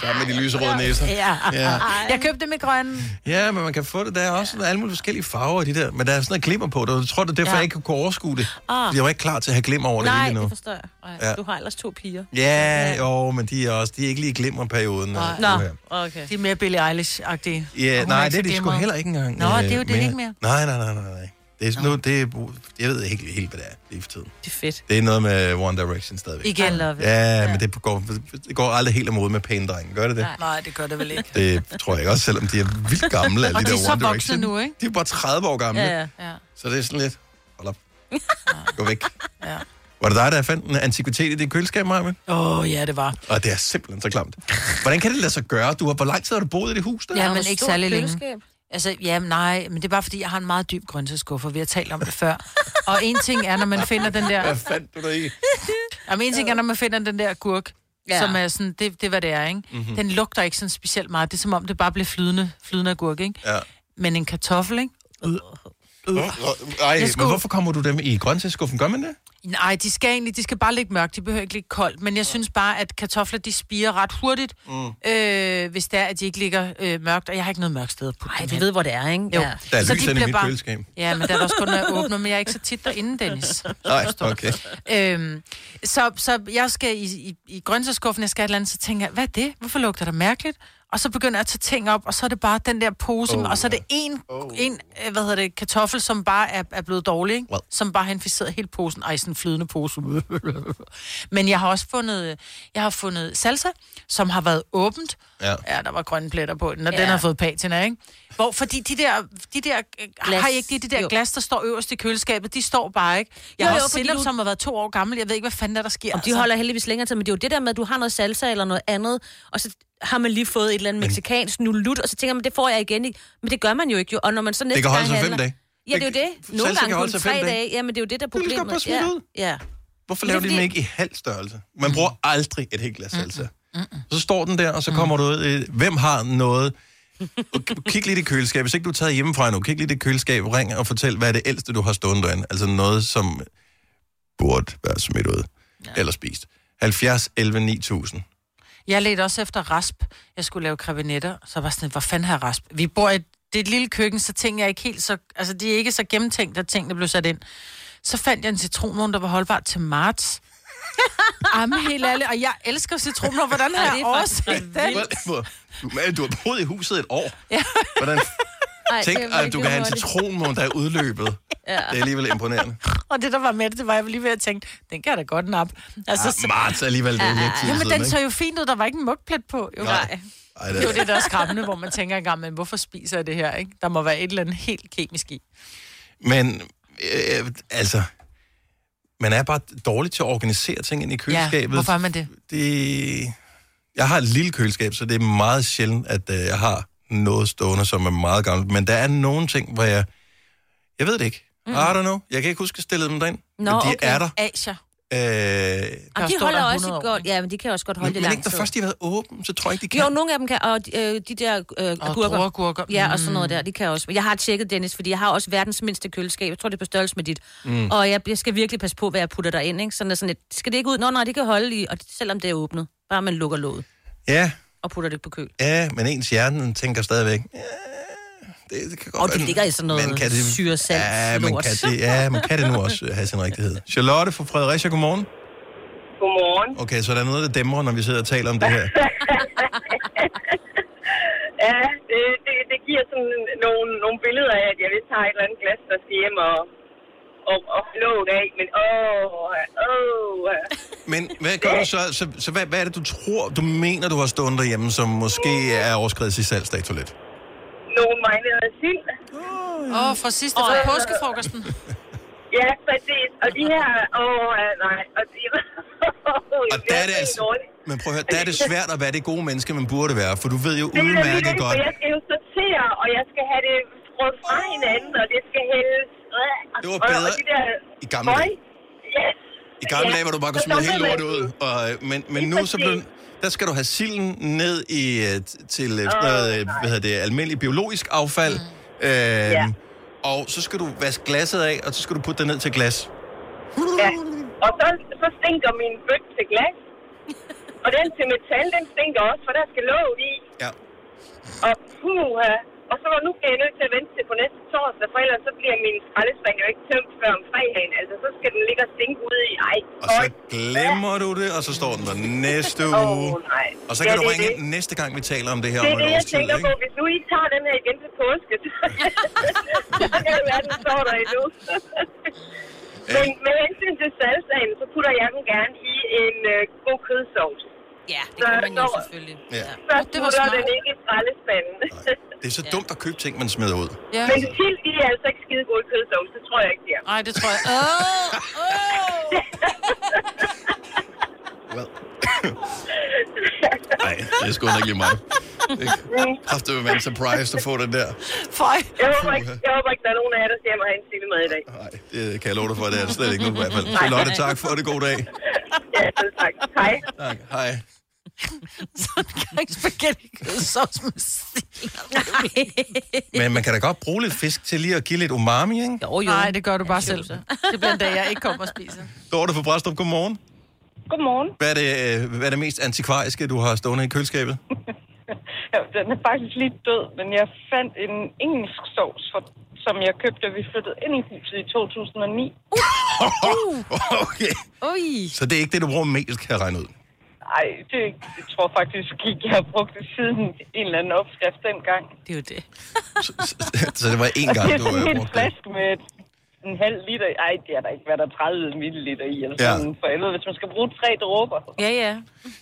Speaker 1: Sammen med de lyserøde næser.
Speaker 2: Ja.
Speaker 1: ja.
Speaker 2: Jeg købte dem i grønne.
Speaker 1: Ja, men man kan få det. Der er også alle mulige forskellige farver i de der. Men der er sådan noget glimmer på det, og jeg tror, det er derfor,
Speaker 3: Ja.
Speaker 1: ja. jeg ikke kunne overskue det.
Speaker 3: Ah.
Speaker 1: Fordi jeg var ikke klar til at have glimmer over det
Speaker 3: Nej,
Speaker 1: hele nu.
Speaker 3: det forstår jeg. Ej,
Speaker 1: Ja.
Speaker 3: Du har ellers to piger.
Speaker 1: Ja, jo, men de er også de er ikke lige i glimmerperioden.
Speaker 2: Nej.
Speaker 1: øh, Nu
Speaker 2: Nå,
Speaker 1: her.
Speaker 2: okay. De er mere Billie Eilish-agtige. Og
Speaker 1: Ja,
Speaker 2: hun ikke
Speaker 1: nej, det
Speaker 2: så
Speaker 1: er de sgu
Speaker 2: glimrede.
Speaker 1: heller ikke engang.
Speaker 2: Nå,
Speaker 1: øh,
Speaker 2: det er jo det er ikke mere.
Speaker 1: Nej, nej, nej, nej, nej. Det er, nu, det er, jeg ved ikke helt, hvad det er lige for tiden.
Speaker 3: Det er fedt.
Speaker 1: Det er noget med One Direction stadigvæk.
Speaker 2: Igen. I love it.
Speaker 1: Ja, men det går, det går aldrig helt om mod med pæne drenge. Gør det det?
Speaker 2: Nej. nej, det gør det vel ikke.
Speaker 1: Det tror jeg ikke også, selvom de er vildt
Speaker 2: *laughs*
Speaker 1: gamle, alle
Speaker 2: Og
Speaker 1: de
Speaker 2: de
Speaker 1: der
Speaker 2: er så
Speaker 1: One
Speaker 2: voksne
Speaker 1: Direction.
Speaker 2: nu, ikke?
Speaker 1: De er bare 30 år gamle.
Speaker 2: Ja, ja.
Speaker 1: Så det er sådan lidt,
Speaker 2: *laughs*
Speaker 1: hold op, gå væk. Ja. Var det dig, der fandt en antikvitet i dit køleskab, Maja?
Speaker 2: Åh, oh, ja, det var.
Speaker 1: Og det er simpelthen så klamt. Hvordan kan det lade sig gøre? Du har, hvor lang tid har du boet i det hus der?
Speaker 2: Ja, men ikke særlig længe. Altså, ja, men nej, men det er bare fordi, jeg har en meget dyb grøntsagsskuffe, og vi har talt om det før. Og en ting er, når man finder den der...
Speaker 1: Hvad fandt du der i?
Speaker 2: Jamen, en ting er, når man finder den der gurk,
Speaker 3: Ja.
Speaker 2: ja. som er sådan, det, det er, hvad det er, ikke?
Speaker 3: Mhm.
Speaker 2: Mm-hmm. Den lugter ikke sådan specielt meget. Det er som om, det bare bliver flydende, flydende af gurk, ikke?
Speaker 1: Ja.
Speaker 2: Men en kartoffel, ikke? Øh. Øh.
Speaker 1: Ej,
Speaker 2: Jeg
Speaker 1: men
Speaker 2: skulle-
Speaker 1: hvorfor kommer du dem i grøntsagsskuffen? Gør man det?
Speaker 2: Nej, de skal egentlig, de skal bare ligge mørkt, de behøver ikke ligge koldt, men jeg synes bare, at kartofler, de spiger ret hurtigt, mm. øh, hvis det er, at de ikke ligger øh, mørkt, og jeg har ikke noget mørkt sted at putte
Speaker 3: Ej,
Speaker 2: dem
Speaker 3: du
Speaker 2: hen.
Speaker 3: ved, hvor det er, ikke?
Speaker 2: Jo.
Speaker 3: Ja.
Speaker 1: Der er
Speaker 2: Så
Speaker 1: lys
Speaker 2: de
Speaker 1: inde i
Speaker 2: bliver
Speaker 1: mit køleskab.
Speaker 2: Ja, men der er også kun, når jeg åbner, men jeg er ikke så tit derinde, Dennis.
Speaker 1: Nej, okay.
Speaker 2: *laughs* Øhm, så, så jeg skal i, i, i grøntsagsskuffen, jeg skal et eller andet, så tænker jeg, hvad er det? Hvorfor lugter det mærkeligt? Og så begynder jeg at tage ting op, og så er det bare den der pose,
Speaker 1: Oh,
Speaker 2: oh, og så er det en, oh. en øh, hvad hedder det, kartoffel, som bare er, er blevet dårlig, ikke? Well. som bare har inficeret hele posen. Ej, sådan en flydende pose. *laughs* Men jeg har også fundet, øh, jeg har fundet salsa, som har været åbent.
Speaker 1: Ja.
Speaker 2: ja der var grønne pletter på den, og ja.
Speaker 3: Ja.
Speaker 2: den har fået patina, ikke? Hvor, fordi de der, de der øh,
Speaker 3: Glas.
Speaker 2: har I ikke de, de der
Speaker 3: Jo.
Speaker 2: jo. glas, der står øverst i køleskabet? De står bare ikke.
Speaker 3: Jo,
Speaker 2: Jeg jo, har
Speaker 3: jo,
Speaker 2: jo, også
Speaker 3: fordi
Speaker 2: sennep,
Speaker 3: du-
Speaker 2: du... som har været to år gammel. Jeg ved ikke, hvad fanden der, der sker. altså.
Speaker 3: Om de holder heldigvis længere tid, men det er jo det der med, at du har noget salsa eller noget andet, og så har man lige fået et eller andet mexikansk nulut, og så tænker man, det får jeg igen ikke. Men det gør man jo ikke, jo. Og når man så næste
Speaker 1: kan holde
Speaker 3: gang
Speaker 1: sig fem
Speaker 3: handler-
Speaker 1: dage.
Speaker 3: Ja, det er jo det.
Speaker 1: Salsa
Speaker 3: Nogle
Speaker 1: kan
Speaker 3: gange kun
Speaker 1: holde sig
Speaker 3: tre
Speaker 1: fem
Speaker 3: dage.
Speaker 1: dage.
Speaker 3: dage. Ja, men det er jo det, der er
Speaker 1: kan lige så godt
Speaker 3: problemet.
Speaker 1: bare smide
Speaker 3: ja.
Speaker 1: ud.
Speaker 3: ja.
Speaker 1: Hvorfor
Speaker 3: Men det
Speaker 2: Ligesom
Speaker 3: er
Speaker 1: laver de dem
Speaker 3: fordi-
Speaker 1: ikke i halv størrelse? Man
Speaker 2: Mm.
Speaker 1: bruger aldrig et helt glas salsa. Så står den der, og så
Speaker 2: Mm.
Speaker 1: kommer du ud. øh, Hvem har noget? Og k- Kig lidt i køleskabet. Hvis ikke du er taget hjemmefra endnu, kig lidt i køleskabet. Ring og fortæl, hvad er det ældste, du har stående derinde. Altså noget, som burde være smidt ud. Eller spist. 70, 11, 9000.
Speaker 2: Jeg ledte også efter rasp. Jeg skulle lave krebinetter, så var jeg sådan, hvor fanden har jeg rasp? Vi bor i det er et lille køkken, så ting jeg ikke helt så... Altså, de er ikke så gennemtænkt, at tingene blev sat ind. Så fandt jeg en citronmåne, der var holdbar til *laughs* marts. Jamen, helt ærligt. Og jeg elsker citronmåne. Hvordan har
Speaker 3: Ej,
Speaker 2: jeg
Speaker 3: det er faktisk
Speaker 2: overset den?
Speaker 1: Hvor- Du, men du har boet i huset et år. Hvordan?
Speaker 2: Ej, det
Speaker 1: Tænk,
Speaker 2: er
Speaker 1: at du
Speaker 2: virkelig
Speaker 1: kan have en
Speaker 2: hurtigt.
Speaker 1: citronmåne, der er udløbet.
Speaker 2: Ja.
Speaker 1: Det er alligevel imponerende.
Speaker 2: *laughs* Og det, der var med det, det var, jeg var lige ved at tænke, den kan jeg da godt nappe. Altså,
Speaker 1: Ah,
Speaker 2: så-
Speaker 1: marts er alligevel, det er lidt tid
Speaker 2: Jo, men
Speaker 1: siden,
Speaker 2: den så
Speaker 1: ikke?
Speaker 2: jo fint ud, der var ikke en mugplet på. Jo.
Speaker 1: Nej. Ej,
Speaker 2: det er jo det, der er skræmmende, hvor man tænker engang, men hvorfor spiser jeg det her, ikke? Der må være et eller andet helt kemisk i.
Speaker 1: Men øh, altså, man er bare dårlig til at organisere ting ind i køleskabet.
Speaker 2: hvorfor er man det?
Speaker 1: det? Jeg har et lille køleskab, så det er meget sjældent, at øh, jeg har noget stående, som er meget gammelt. Men der er nogle ting, hvor jeg... Jeg ved det ikke. Mm. I don't know. Jeg kan ikke huske, at jeg stillede dem derind.
Speaker 3: Nå,
Speaker 1: men de
Speaker 3: okay.
Speaker 1: er der.
Speaker 2: Asia.
Speaker 1: Øh,
Speaker 3: Og de holder også i godt, ja, men de kan også godt holde
Speaker 1: men,
Speaker 3: det
Speaker 1: men
Speaker 3: lang
Speaker 1: ikke, når
Speaker 3: tid.
Speaker 1: først de har været åben, så tror jeg ikke, de kan.
Speaker 3: Jo, nogle af dem kan, og de, øh, de der øh,
Speaker 2: Og
Speaker 3: agurker.
Speaker 2: druergurker.
Speaker 3: Ja, og sådan noget
Speaker 2: Mm.
Speaker 3: der, de kan også. Jeg har tjekket, Dennis, fordi jeg har også verdens mindste køleskab. Jeg tror, det er på størrelse med dit. Mm.
Speaker 2: Mm.
Speaker 3: Og jeg, jeg skal virkelig passe på, hvad jeg putter derind, ikke? Sådan, er sådan lidt, skal det ikke ud? Nå, nej, det kan holde i, og selvom det er åbnet. Bare man lukker låget
Speaker 1: Ja,
Speaker 3: og putter det på køl.
Speaker 1: ja, men ens hjerne den tænker stadigvæk, ja, det, det kan godt
Speaker 3: Og det
Speaker 1: være,
Speaker 3: ligger i sådan noget
Speaker 1: men kan det-
Speaker 3: syresalt
Speaker 1: Ja, men
Speaker 3: lort.
Speaker 1: kan det, ja, men kan det nu
Speaker 3: *laughs*
Speaker 1: også øh, have sin rigtighed? Charlotte fra Fredericia, godmorgen.
Speaker 8: Godmorgen.
Speaker 1: Okay, så der er noget, der dæmrer, når vi sidder og taler om det her.
Speaker 8: Ja, det, det, det giver sådan nogle, nogle billeder af, at jeg vil tage et eller andet glas, der skal hjem og, og, og låget af. Men åh, åh.
Speaker 1: Men hvad gør du så? Så, så hvad, hvad er det, du tror, du mener, du har stående derhjemme, som måske er overskrevet sit salgsdato lidt?
Speaker 8: Nogle marinerede sild.
Speaker 2: Åh, oh, fra sidste, fra påskefrokosten.
Speaker 8: Ja, præcis. Og de her... Åh, oh, nej. Og, de, *laughs*
Speaker 1: Og der er det altså... Men prøv at høre, der er det svært at være det gode menneske, man burde være, for du ved jo
Speaker 8: Det er da
Speaker 1: udmærket
Speaker 8: vildt,
Speaker 1: godt. Ah.
Speaker 8: for Jeg skal jo sortere, og jeg skal have det skruet fra hinanden, og det skal hældes. øh,
Speaker 1: Det var
Speaker 8: og-
Speaker 1: bedre
Speaker 8: og de der,
Speaker 1: i gamle dage.
Speaker 8: Møg. Ja.
Speaker 1: I gamle
Speaker 8: Ja,
Speaker 1: dage, hvor du bare kunne
Speaker 8: så
Speaker 1: smide helt
Speaker 8: dumpede man
Speaker 1: lortet ud. Og, øh, men men
Speaker 8: Lige
Speaker 1: nu så blev,
Speaker 8: præcis.
Speaker 1: der skal du have silden ned i, øh, t- til øh, sådan noget, øh, hvad hedder det, almindeligt biologisk affald. Mm.
Speaker 8: Ja.
Speaker 1: Øhm, og så skal du vaske glasset af, og så skal du putte det ned til glas.
Speaker 8: Ja. Og så, så stinker min bøtte til
Speaker 1: *laughs*
Speaker 8: glas. Og den til metal, den stinker også, for der skal låg i.
Speaker 1: Ja.
Speaker 8: Og puha. Og så var nu bliver jeg nødt til at vente til på næste torsdag, for ellers så bliver min skraldespand jo ikke tømt før om fredagen. Altså, så skal den ligge og stinke ude i ej.
Speaker 1: Og så glemmer du det, og så står den der næste uge.
Speaker 8: Åh, nej.
Speaker 1: Og så kan
Speaker 8: Ja,
Speaker 1: du
Speaker 8: det er
Speaker 1: ringe
Speaker 8: det.
Speaker 1: ind næste gang, vi taler om det her
Speaker 8: Det er
Speaker 1: om et
Speaker 8: det,
Speaker 1: års
Speaker 8: jeg
Speaker 1: tid.
Speaker 8: tænker
Speaker 1: Ikke?
Speaker 8: på. Hvis nu I tager den her igen til påske, *laughs* så kan det være, den står der
Speaker 1: *laughs*
Speaker 8: endnu. Men med hensyn til salsaen, så putter jeg den gerne i en øh, god kødsovs.
Speaker 3: Ja,
Speaker 8: det kan man jo selvfølgelig.
Speaker 1: Ja.
Speaker 8: Så
Speaker 2: det
Speaker 8: det
Speaker 2: var
Speaker 8: var putter
Speaker 2: smart.
Speaker 8: den ikke i skraldespanden.
Speaker 1: Det er så dumt at købe ting, man smider
Speaker 8: *laughs*
Speaker 1: ud.
Speaker 8: Ja. Men sild, de er altså ikke skide gode i kødsovs. Det tror jeg ikke, de er.
Speaker 2: Nej, det tror jeg.
Speaker 8: *laughs*
Speaker 2: Åh,
Speaker 8: *laughs*
Speaker 1: Nej, det er sgu heller ikke lige
Speaker 8: *laughs*
Speaker 1: mig. Det kræfter vil være en surprise at få den der.
Speaker 2: Fej.
Speaker 8: Jeg håber, ikke, jeg håber ikke, der er nogen af jer, der ser mig have en sild med i dag.
Speaker 1: Det kan jeg love dig for, det er der slet ikke nogen i hvert fald.
Speaker 8: Nej.
Speaker 1: Charlotte, tak for det. God dag.
Speaker 8: Ja, selv tak. Hej.
Speaker 1: Tak. Hej.
Speaker 2: Sådan kan ikke spaghetti kødsovs med sild.
Speaker 1: *laughs* Men man kan da godt bruge lidt fisk til lige at give lidt umami, ikke?
Speaker 3: Jo, jo.
Speaker 2: Nej, det gør du bare selv. Det bliver en dag, jeg ikke kommer og spiser.
Speaker 1: Dorte fra Brastrup, godmorgen.
Speaker 19: Godmorgen.
Speaker 1: Hvad er, det, øh, hvad er det mest antikvariske, du har stående i køleskabet?
Speaker 19: Ja, den er faktisk lige død, men jeg fandt en engelsk sovs, for, som jeg købte, da vi flyttede ind i huset i 2009.
Speaker 2: Uh!
Speaker 1: okay.
Speaker 3: Ui.
Speaker 1: Så det er ikke det, du bruger mest, kan jeg regne ud.
Speaker 19: Ej, det, jeg tror faktisk ikke, jeg har brugt det siden en eller anden opskrift dengang.
Speaker 2: Det er jo det.
Speaker 1: Så det var én
Speaker 19: Og
Speaker 1: gang,
Speaker 19: det er
Speaker 1: du
Speaker 19: sådan en
Speaker 1: øh,
Speaker 19: hel
Speaker 1: brugte det.
Speaker 19: flaske med en halv liter. i. Ej, det er der ikke, hvad der er 30 milliliter i, eller
Speaker 1: Ja.
Speaker 19: sådan, for helvede, hvis man skal bruge tre dråber.
Speaker 3: Ja, ja.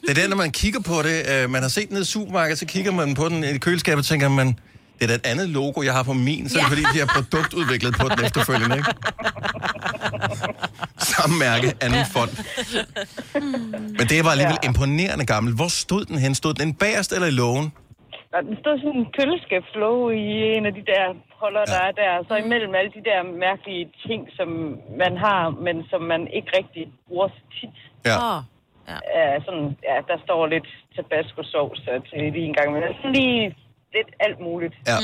Speaker 1: Det er det, når man kigger på det. øh, Man har set den nede i supermarkedet, så kigger man på den i køleskabet og tænker, man, det er da et andet logo, jeg har på min, så er det fordi, de har produktudviklet på den efterfølgende,
Speaker 3: *laughs*
Speaker 1: ikke? Samme mærke, anden
Speaker 3: *laughs*
Speaker 1: fond. Men det var alligevel imponerende gammel. Hvor stod den hen? Stod den inde bagerst eller i lågen?
Speaker 19: Der den stod sådan en køleskabslåge i en af de der holder, der er der. Så imellem alle de der mærkelige ting, som man har, men som man ikke rigtig bruger så tit.
Speaker 1: Ja.
Speaker 19: Ja. sådan, ja, der står lidt tabasco-sovs øh, til lige en gang, men sådan lige lidt alt muligt.
Speaker 1: Ja.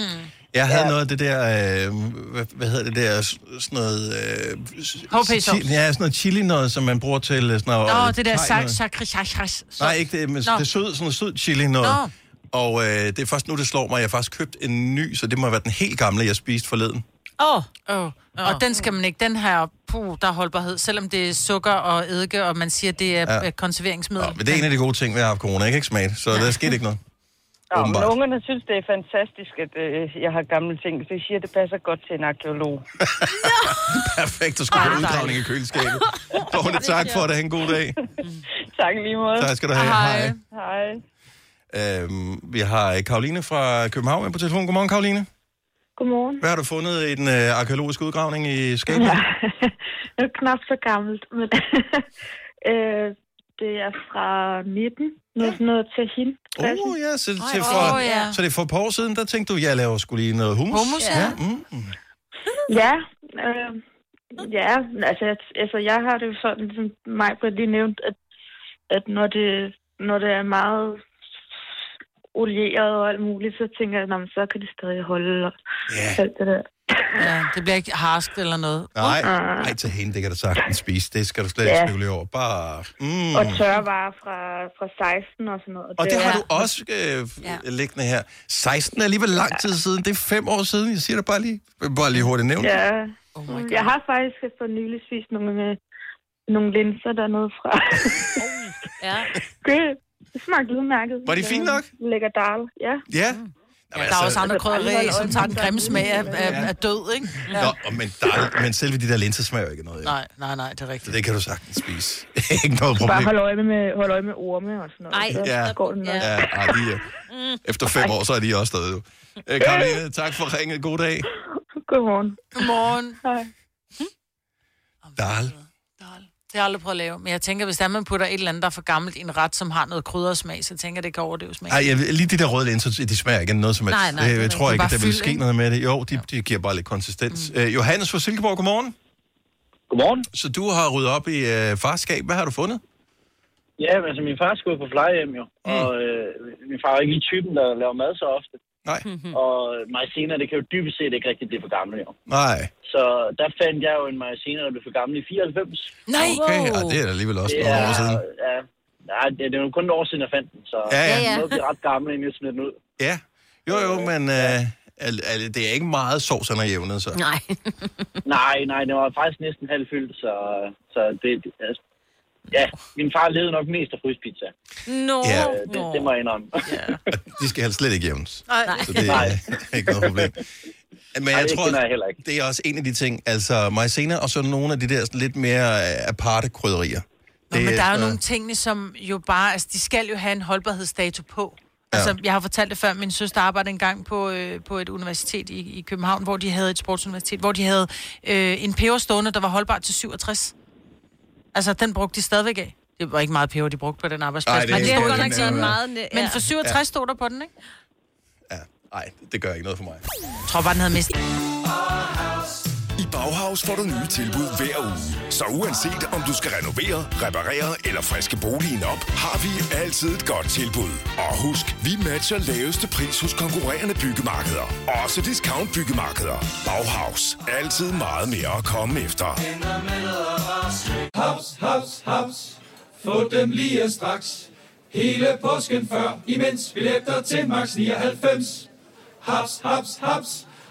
Speaker 1: Jeg havde noget af det der, øh, hvad, hvad hedder det der, s- sådan noget... Øh, s-
Speaker 2: HP-sovs.
Speaker 1: chi- Ja, sådan noget chili noget, som man bruger til øh, sådan noget...
Speaker 2: Nå, det der
Speaker 1: thai
Speaker 2: sak,
Speaker 1: noget.
Speaker 2: sak, sak, sak, sak.
Speaker 1: Nej, ikke det, men
Speaker 2: Nå.
Speaker 1: det er sød, sådan noget sød chili noget.
Speaker 2: Nå.
Speaker 1: Og øh, det er først nu, det slår mig. Jeg har faktisk købt en ny, så det må være den helt gamle, jeg spiste forleden.
Speaker 2: Åh. Oh. Oh. Og den skal man ikke. Den her, puh, der er holdbarhed. Selvom det er sukker og eddike, og man siger, det er
Speaker 1: Ja.
Speaker 2: ja. konserveringsmiddel.
Speaker 1: Men det er en af de gode ting ved at have corona. Jeg kan ikke smage det, så der skete ikke noget.
Speaker 19: Ja, men
Speaker 1: Åbenbart.
Speaker 19: ungerne synes, det er fantastisk, at øh, jeg har gamle ting. Så jeg siger, at det passer godt til en arkeolog.
Speaker 1: *laughs*
Speaker 19: *laughs*
Speaker 1: Perfekt, du skulle have udgravning i
Speaker 2: *laughs*
Speaker 1: køleskabet. Dorte, tak for det. Ha' en god dag.
Speaker 19: tak i lige måde.
Speaker 1: Tak skal du have. Hej. Hej.
Speaker 19: Hej.
Speaker 1: Øhm, vi har øh, Karoline fra København med på telefon. Godmorgen, Karoline.
Speaker 20: Godmorgen.
Speaker 1: Hvad har du fundet i den øh, arkeologiske udgravning i Skægen? Ja.
Speaker 20: *laughs* Det er knap så gammelt, men *laughs* øh, det er fra 19. Noget, ja. noget til hende.
Speaker 1: Oh, ja, så, til for,
Speaker 20: Åh, ja.
Speaker 1: så det er for et par år siden, der tænkte du, jeg laver skulle lige noget hummus.
Speaker 20: Hummus, ja.
Speaker 1: ja. Mm.
Speaker 20: Ja, øh, ja altså, jeg- altså jeg har det jo sådan, som mig lige nævnt, at, at når, det, når det er meget olieret og alt muligt, så tænker jeg, "Nå, men så kan det stadig holde og yeah. alt det der.
Speaker 2: Ja, det bliver ikke harskt eller noget.
Speaker 1: Nej, nej, til hende, det kan du sagtens spise. Det skal du slet ikke
Speaker 20: Ah. Ja.
Speaker 1: spekulere over. Bare, mm.
Speaker 20: Mm. *laughs* Og tørre varer fra, fra 16 og sådan noget.
Speaker 1: Og det har du også øh, ja. liggende her. 16 er alligevel lang tid siden. Det er fem år siden. Jeg siger det bare lige, bare lige hurtigt nævnt.
Speaker 20: Ja. Oh jeg har faktisk for nylig spist nogle, øh, nogle linser dernede
Speaker 1: *laughs*
Speaker 20: fra.
Speaker 3: ja.
Speaker 20: Det, det smagte udmærket.
Speaker 1: Var de fine nok?
Speaker 20: Lækker dal, ja.
Speaker 1: ja.
Speaker 2: Ja, der er
Speaker 1: altså-
Speaker 2: også andre krydderier, som tager den grimme smag af, af, af død, ikke? Ja.
Speaker 1: Nå, og men, der, men selve de der linser smager jo ikke af noget.
Speaker 2: Nej, nej, nej, det er
Speaker 1: Så
Speaker 2: rigtigt.
Speaker 1: det kan du sagtens spise. *laughs* ikke noget
Speaker 20: Bare
Speaker 1: problem.
Speaker 20: hold øje med, hold øje med orme og sådan noget.
Speaker 1: Ej,
Speaker 20: så
Speaker 1: ja.
Speaker 20: går den nok.
Speaker 1: Ja, ej, de, er-
Speaker 2: Mm.
Speaker 1: efter fem år, så er de også stadig. jo. Øh, Karoline, tak for ringet. God dag.
Speaker 20: Godmorgen.
Speaker 2: Godmorgen.
Speaker 20: Hej.
Speaker 1: Dal.
Speaker 2: Det har jeg aldrig prøvet at lave. Men jeg tænker, hvis der man putter et eller andet, der er for gammelt i en ret, som har noget kryddersmag, så tænker jeg, det kan overdøve smag.
Speaker 1: Ej, jeg, lige de der røde linser, de smager ikke af noget som helst. Øh,
Speaker 2: Nej, nej,
Speaker 1: jeg,
Speaker 2: det er
Speaker 1: jeg tror
Speaker 2: rigtigt.
Speaker 1: ikke,
Speaker 2: Bare
Speaker 1: at der vil
Speaker 2: fyld,
Speaker 1: ske
Speaker 2: ikke?
Speaker 1: noget med det. Jo, de, de giver bare lidt konsistens. Mm. Øh, Johannes fra Silkeborg, godmorgen. Godmorgen. Så du har ryddet op i øh, farskab. Hvad har du fundet?
Speaker 5: Ja, men altså, min far skulle på plejehjem jo, mm. og øh, min far er ikke lige typen, der laver mad så ofte.
Speaker 1: Nej.
Speaker 5: Og maizena, det kan jo dybest set ikke rigtig blive for gammel jo.
Speaker 1: Nej.
Speaker 5: Så der fandt jeg jo en maizena, der blev for gammel i 94.
Speaker 2: Nej!
Speaker 1: Okay, ja, det er da alligevel også nogle år siden.
Speaker 5: Ja, ja det, det er jo kun et år siden, jeg fandt den, så
Speaker 1: Ja, ja.
Speaker 5: jeg nåede at blive ret gammel, inden jeg smed den ud.
Speaker 1: Ja. Jo, jo, men øh, al, al, det er ikke meget sovs, han har jævnet, så.
Speaker 3: Nej.
Speaker 5: nej, nej, den var faktisk næsten halvfyldt, så, så det... det- Altså, ja, min far levede nok mest af fryspizza.
Speaker 3: Nå.
Speaker 1: Ja.
Speaker 5: Øh, det, det må jeg indrømme. *laughs*
Speaker 1: De skal helst slet ikke jævnes.
Speaker 5: Nej.
Speaker 1: Så *laughs* det
Speaker 5: Nej.
Speaker 1: er ikke noget problem. Men jeg
Speaker 5: det
Speaker 1: tror,
Speaker 5: kender jeg heller ikke.
Speaker 1: det er også en af de ting, altså maizena og så nogle af de der sådan lidt mere øh, aparte krydderier.
Speaker 2: Nå, men der er jo
Speaker 1: sådan-
Speaker 2: nogle tingene, som jo bare... Altså, de skal jo have en holdbarhedsdato på.
Speaker 1: Ja.
Speaker 2: Altså, jeg har fortalt det før, min søster arbejdede engang på, øh, på et universitet i, i København, hvor de havde et sportsuniversitet, hvor de havde øh, en peber stående, der var holdbar til 67. Altså, den brugte de stadigvæk af. Det var ikke meget peber, de brugte på den arbejdsplads.
Speaker 3: Altså,
Speaker 1: Ej, det er
Speaker 2: men
Speaker 1: ikke
Speaker 2: stod der
Speaker 1: godt nok
Speaker 2: sådan
Speaker 1: nærmere.
Speaker 2: ne-
Speaker 3: Ja.
Speaker 2: Men for 67
Speaker 1: Ja.
Speaker 2: stod der på den, ikke?
Speaker 1: Nej, det gør ikke noget for mig.
Speaker 2: Jeg tror bare, den havde mistet.
Speaker 13: I Bauhaus får du nye tilbud hver uge. Så uanset om du skal renovere, reparere eller friske boligen op, har vi altid et godt tilbud. Og husk, vi matcher laveste pris hos konkurrerende byggemarkeder. Også discount byggemarkeder. Bauhaus. Altid meget mere at komme efter.
Speaker 11: Haps, haps, haps. Få dem lige straks. Hele påsken før, imens billetter til max 99. Haps, haps, haps.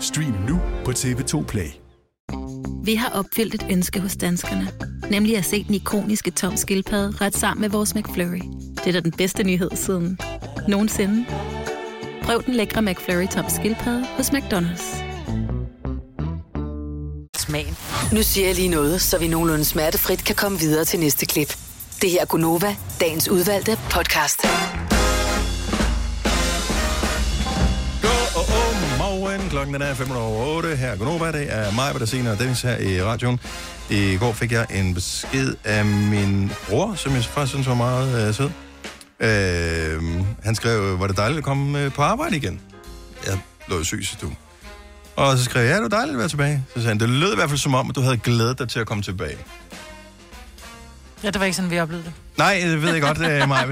Speaker 17: Stream nu på TV2 Play.
Speaker 18: Vi har opfyldt et ønske hos danskerne. Nemlig at se den ikoniske tom skildpadde ret sammen med vores McFlurry. Det er da den bedste nyhed siden nogensinde. Prøv den lækre McFlurry tom skildpadde hos McDonald's.
Speaker 2: Smagen.
Speaker 6: Nu siger jeg lige noget, så vi nogenlunde smertefrit kan komme videre til næste klip. Det her er Gunova, dagens udvalgte podcast.
Speaker 1: Godmorgen. Klokken den er 5 over 8. Her er Gunova. Det er mig, der senere og Dennis her i radioen. I går fik jeg en besked af min bror, som jeg faktisk synes var meget øh, sød. Øh, han skrev, var det dejligt at komme øh, på arbejde igen? Jeg lå jo syg, du. Og så skrev jeg, ja, det var dejligt at være tilbage. Så sagde han, det lød i hvert fald som om, at du havde glædet dig til at komme tilbage.
Speaker 2: Ja, det var ikke sådan, vi oplevede det.
Speaker 1: Nej, det ved jeg godt,
Speaker 2: *laughs*
Speaker 1: øh, Maja.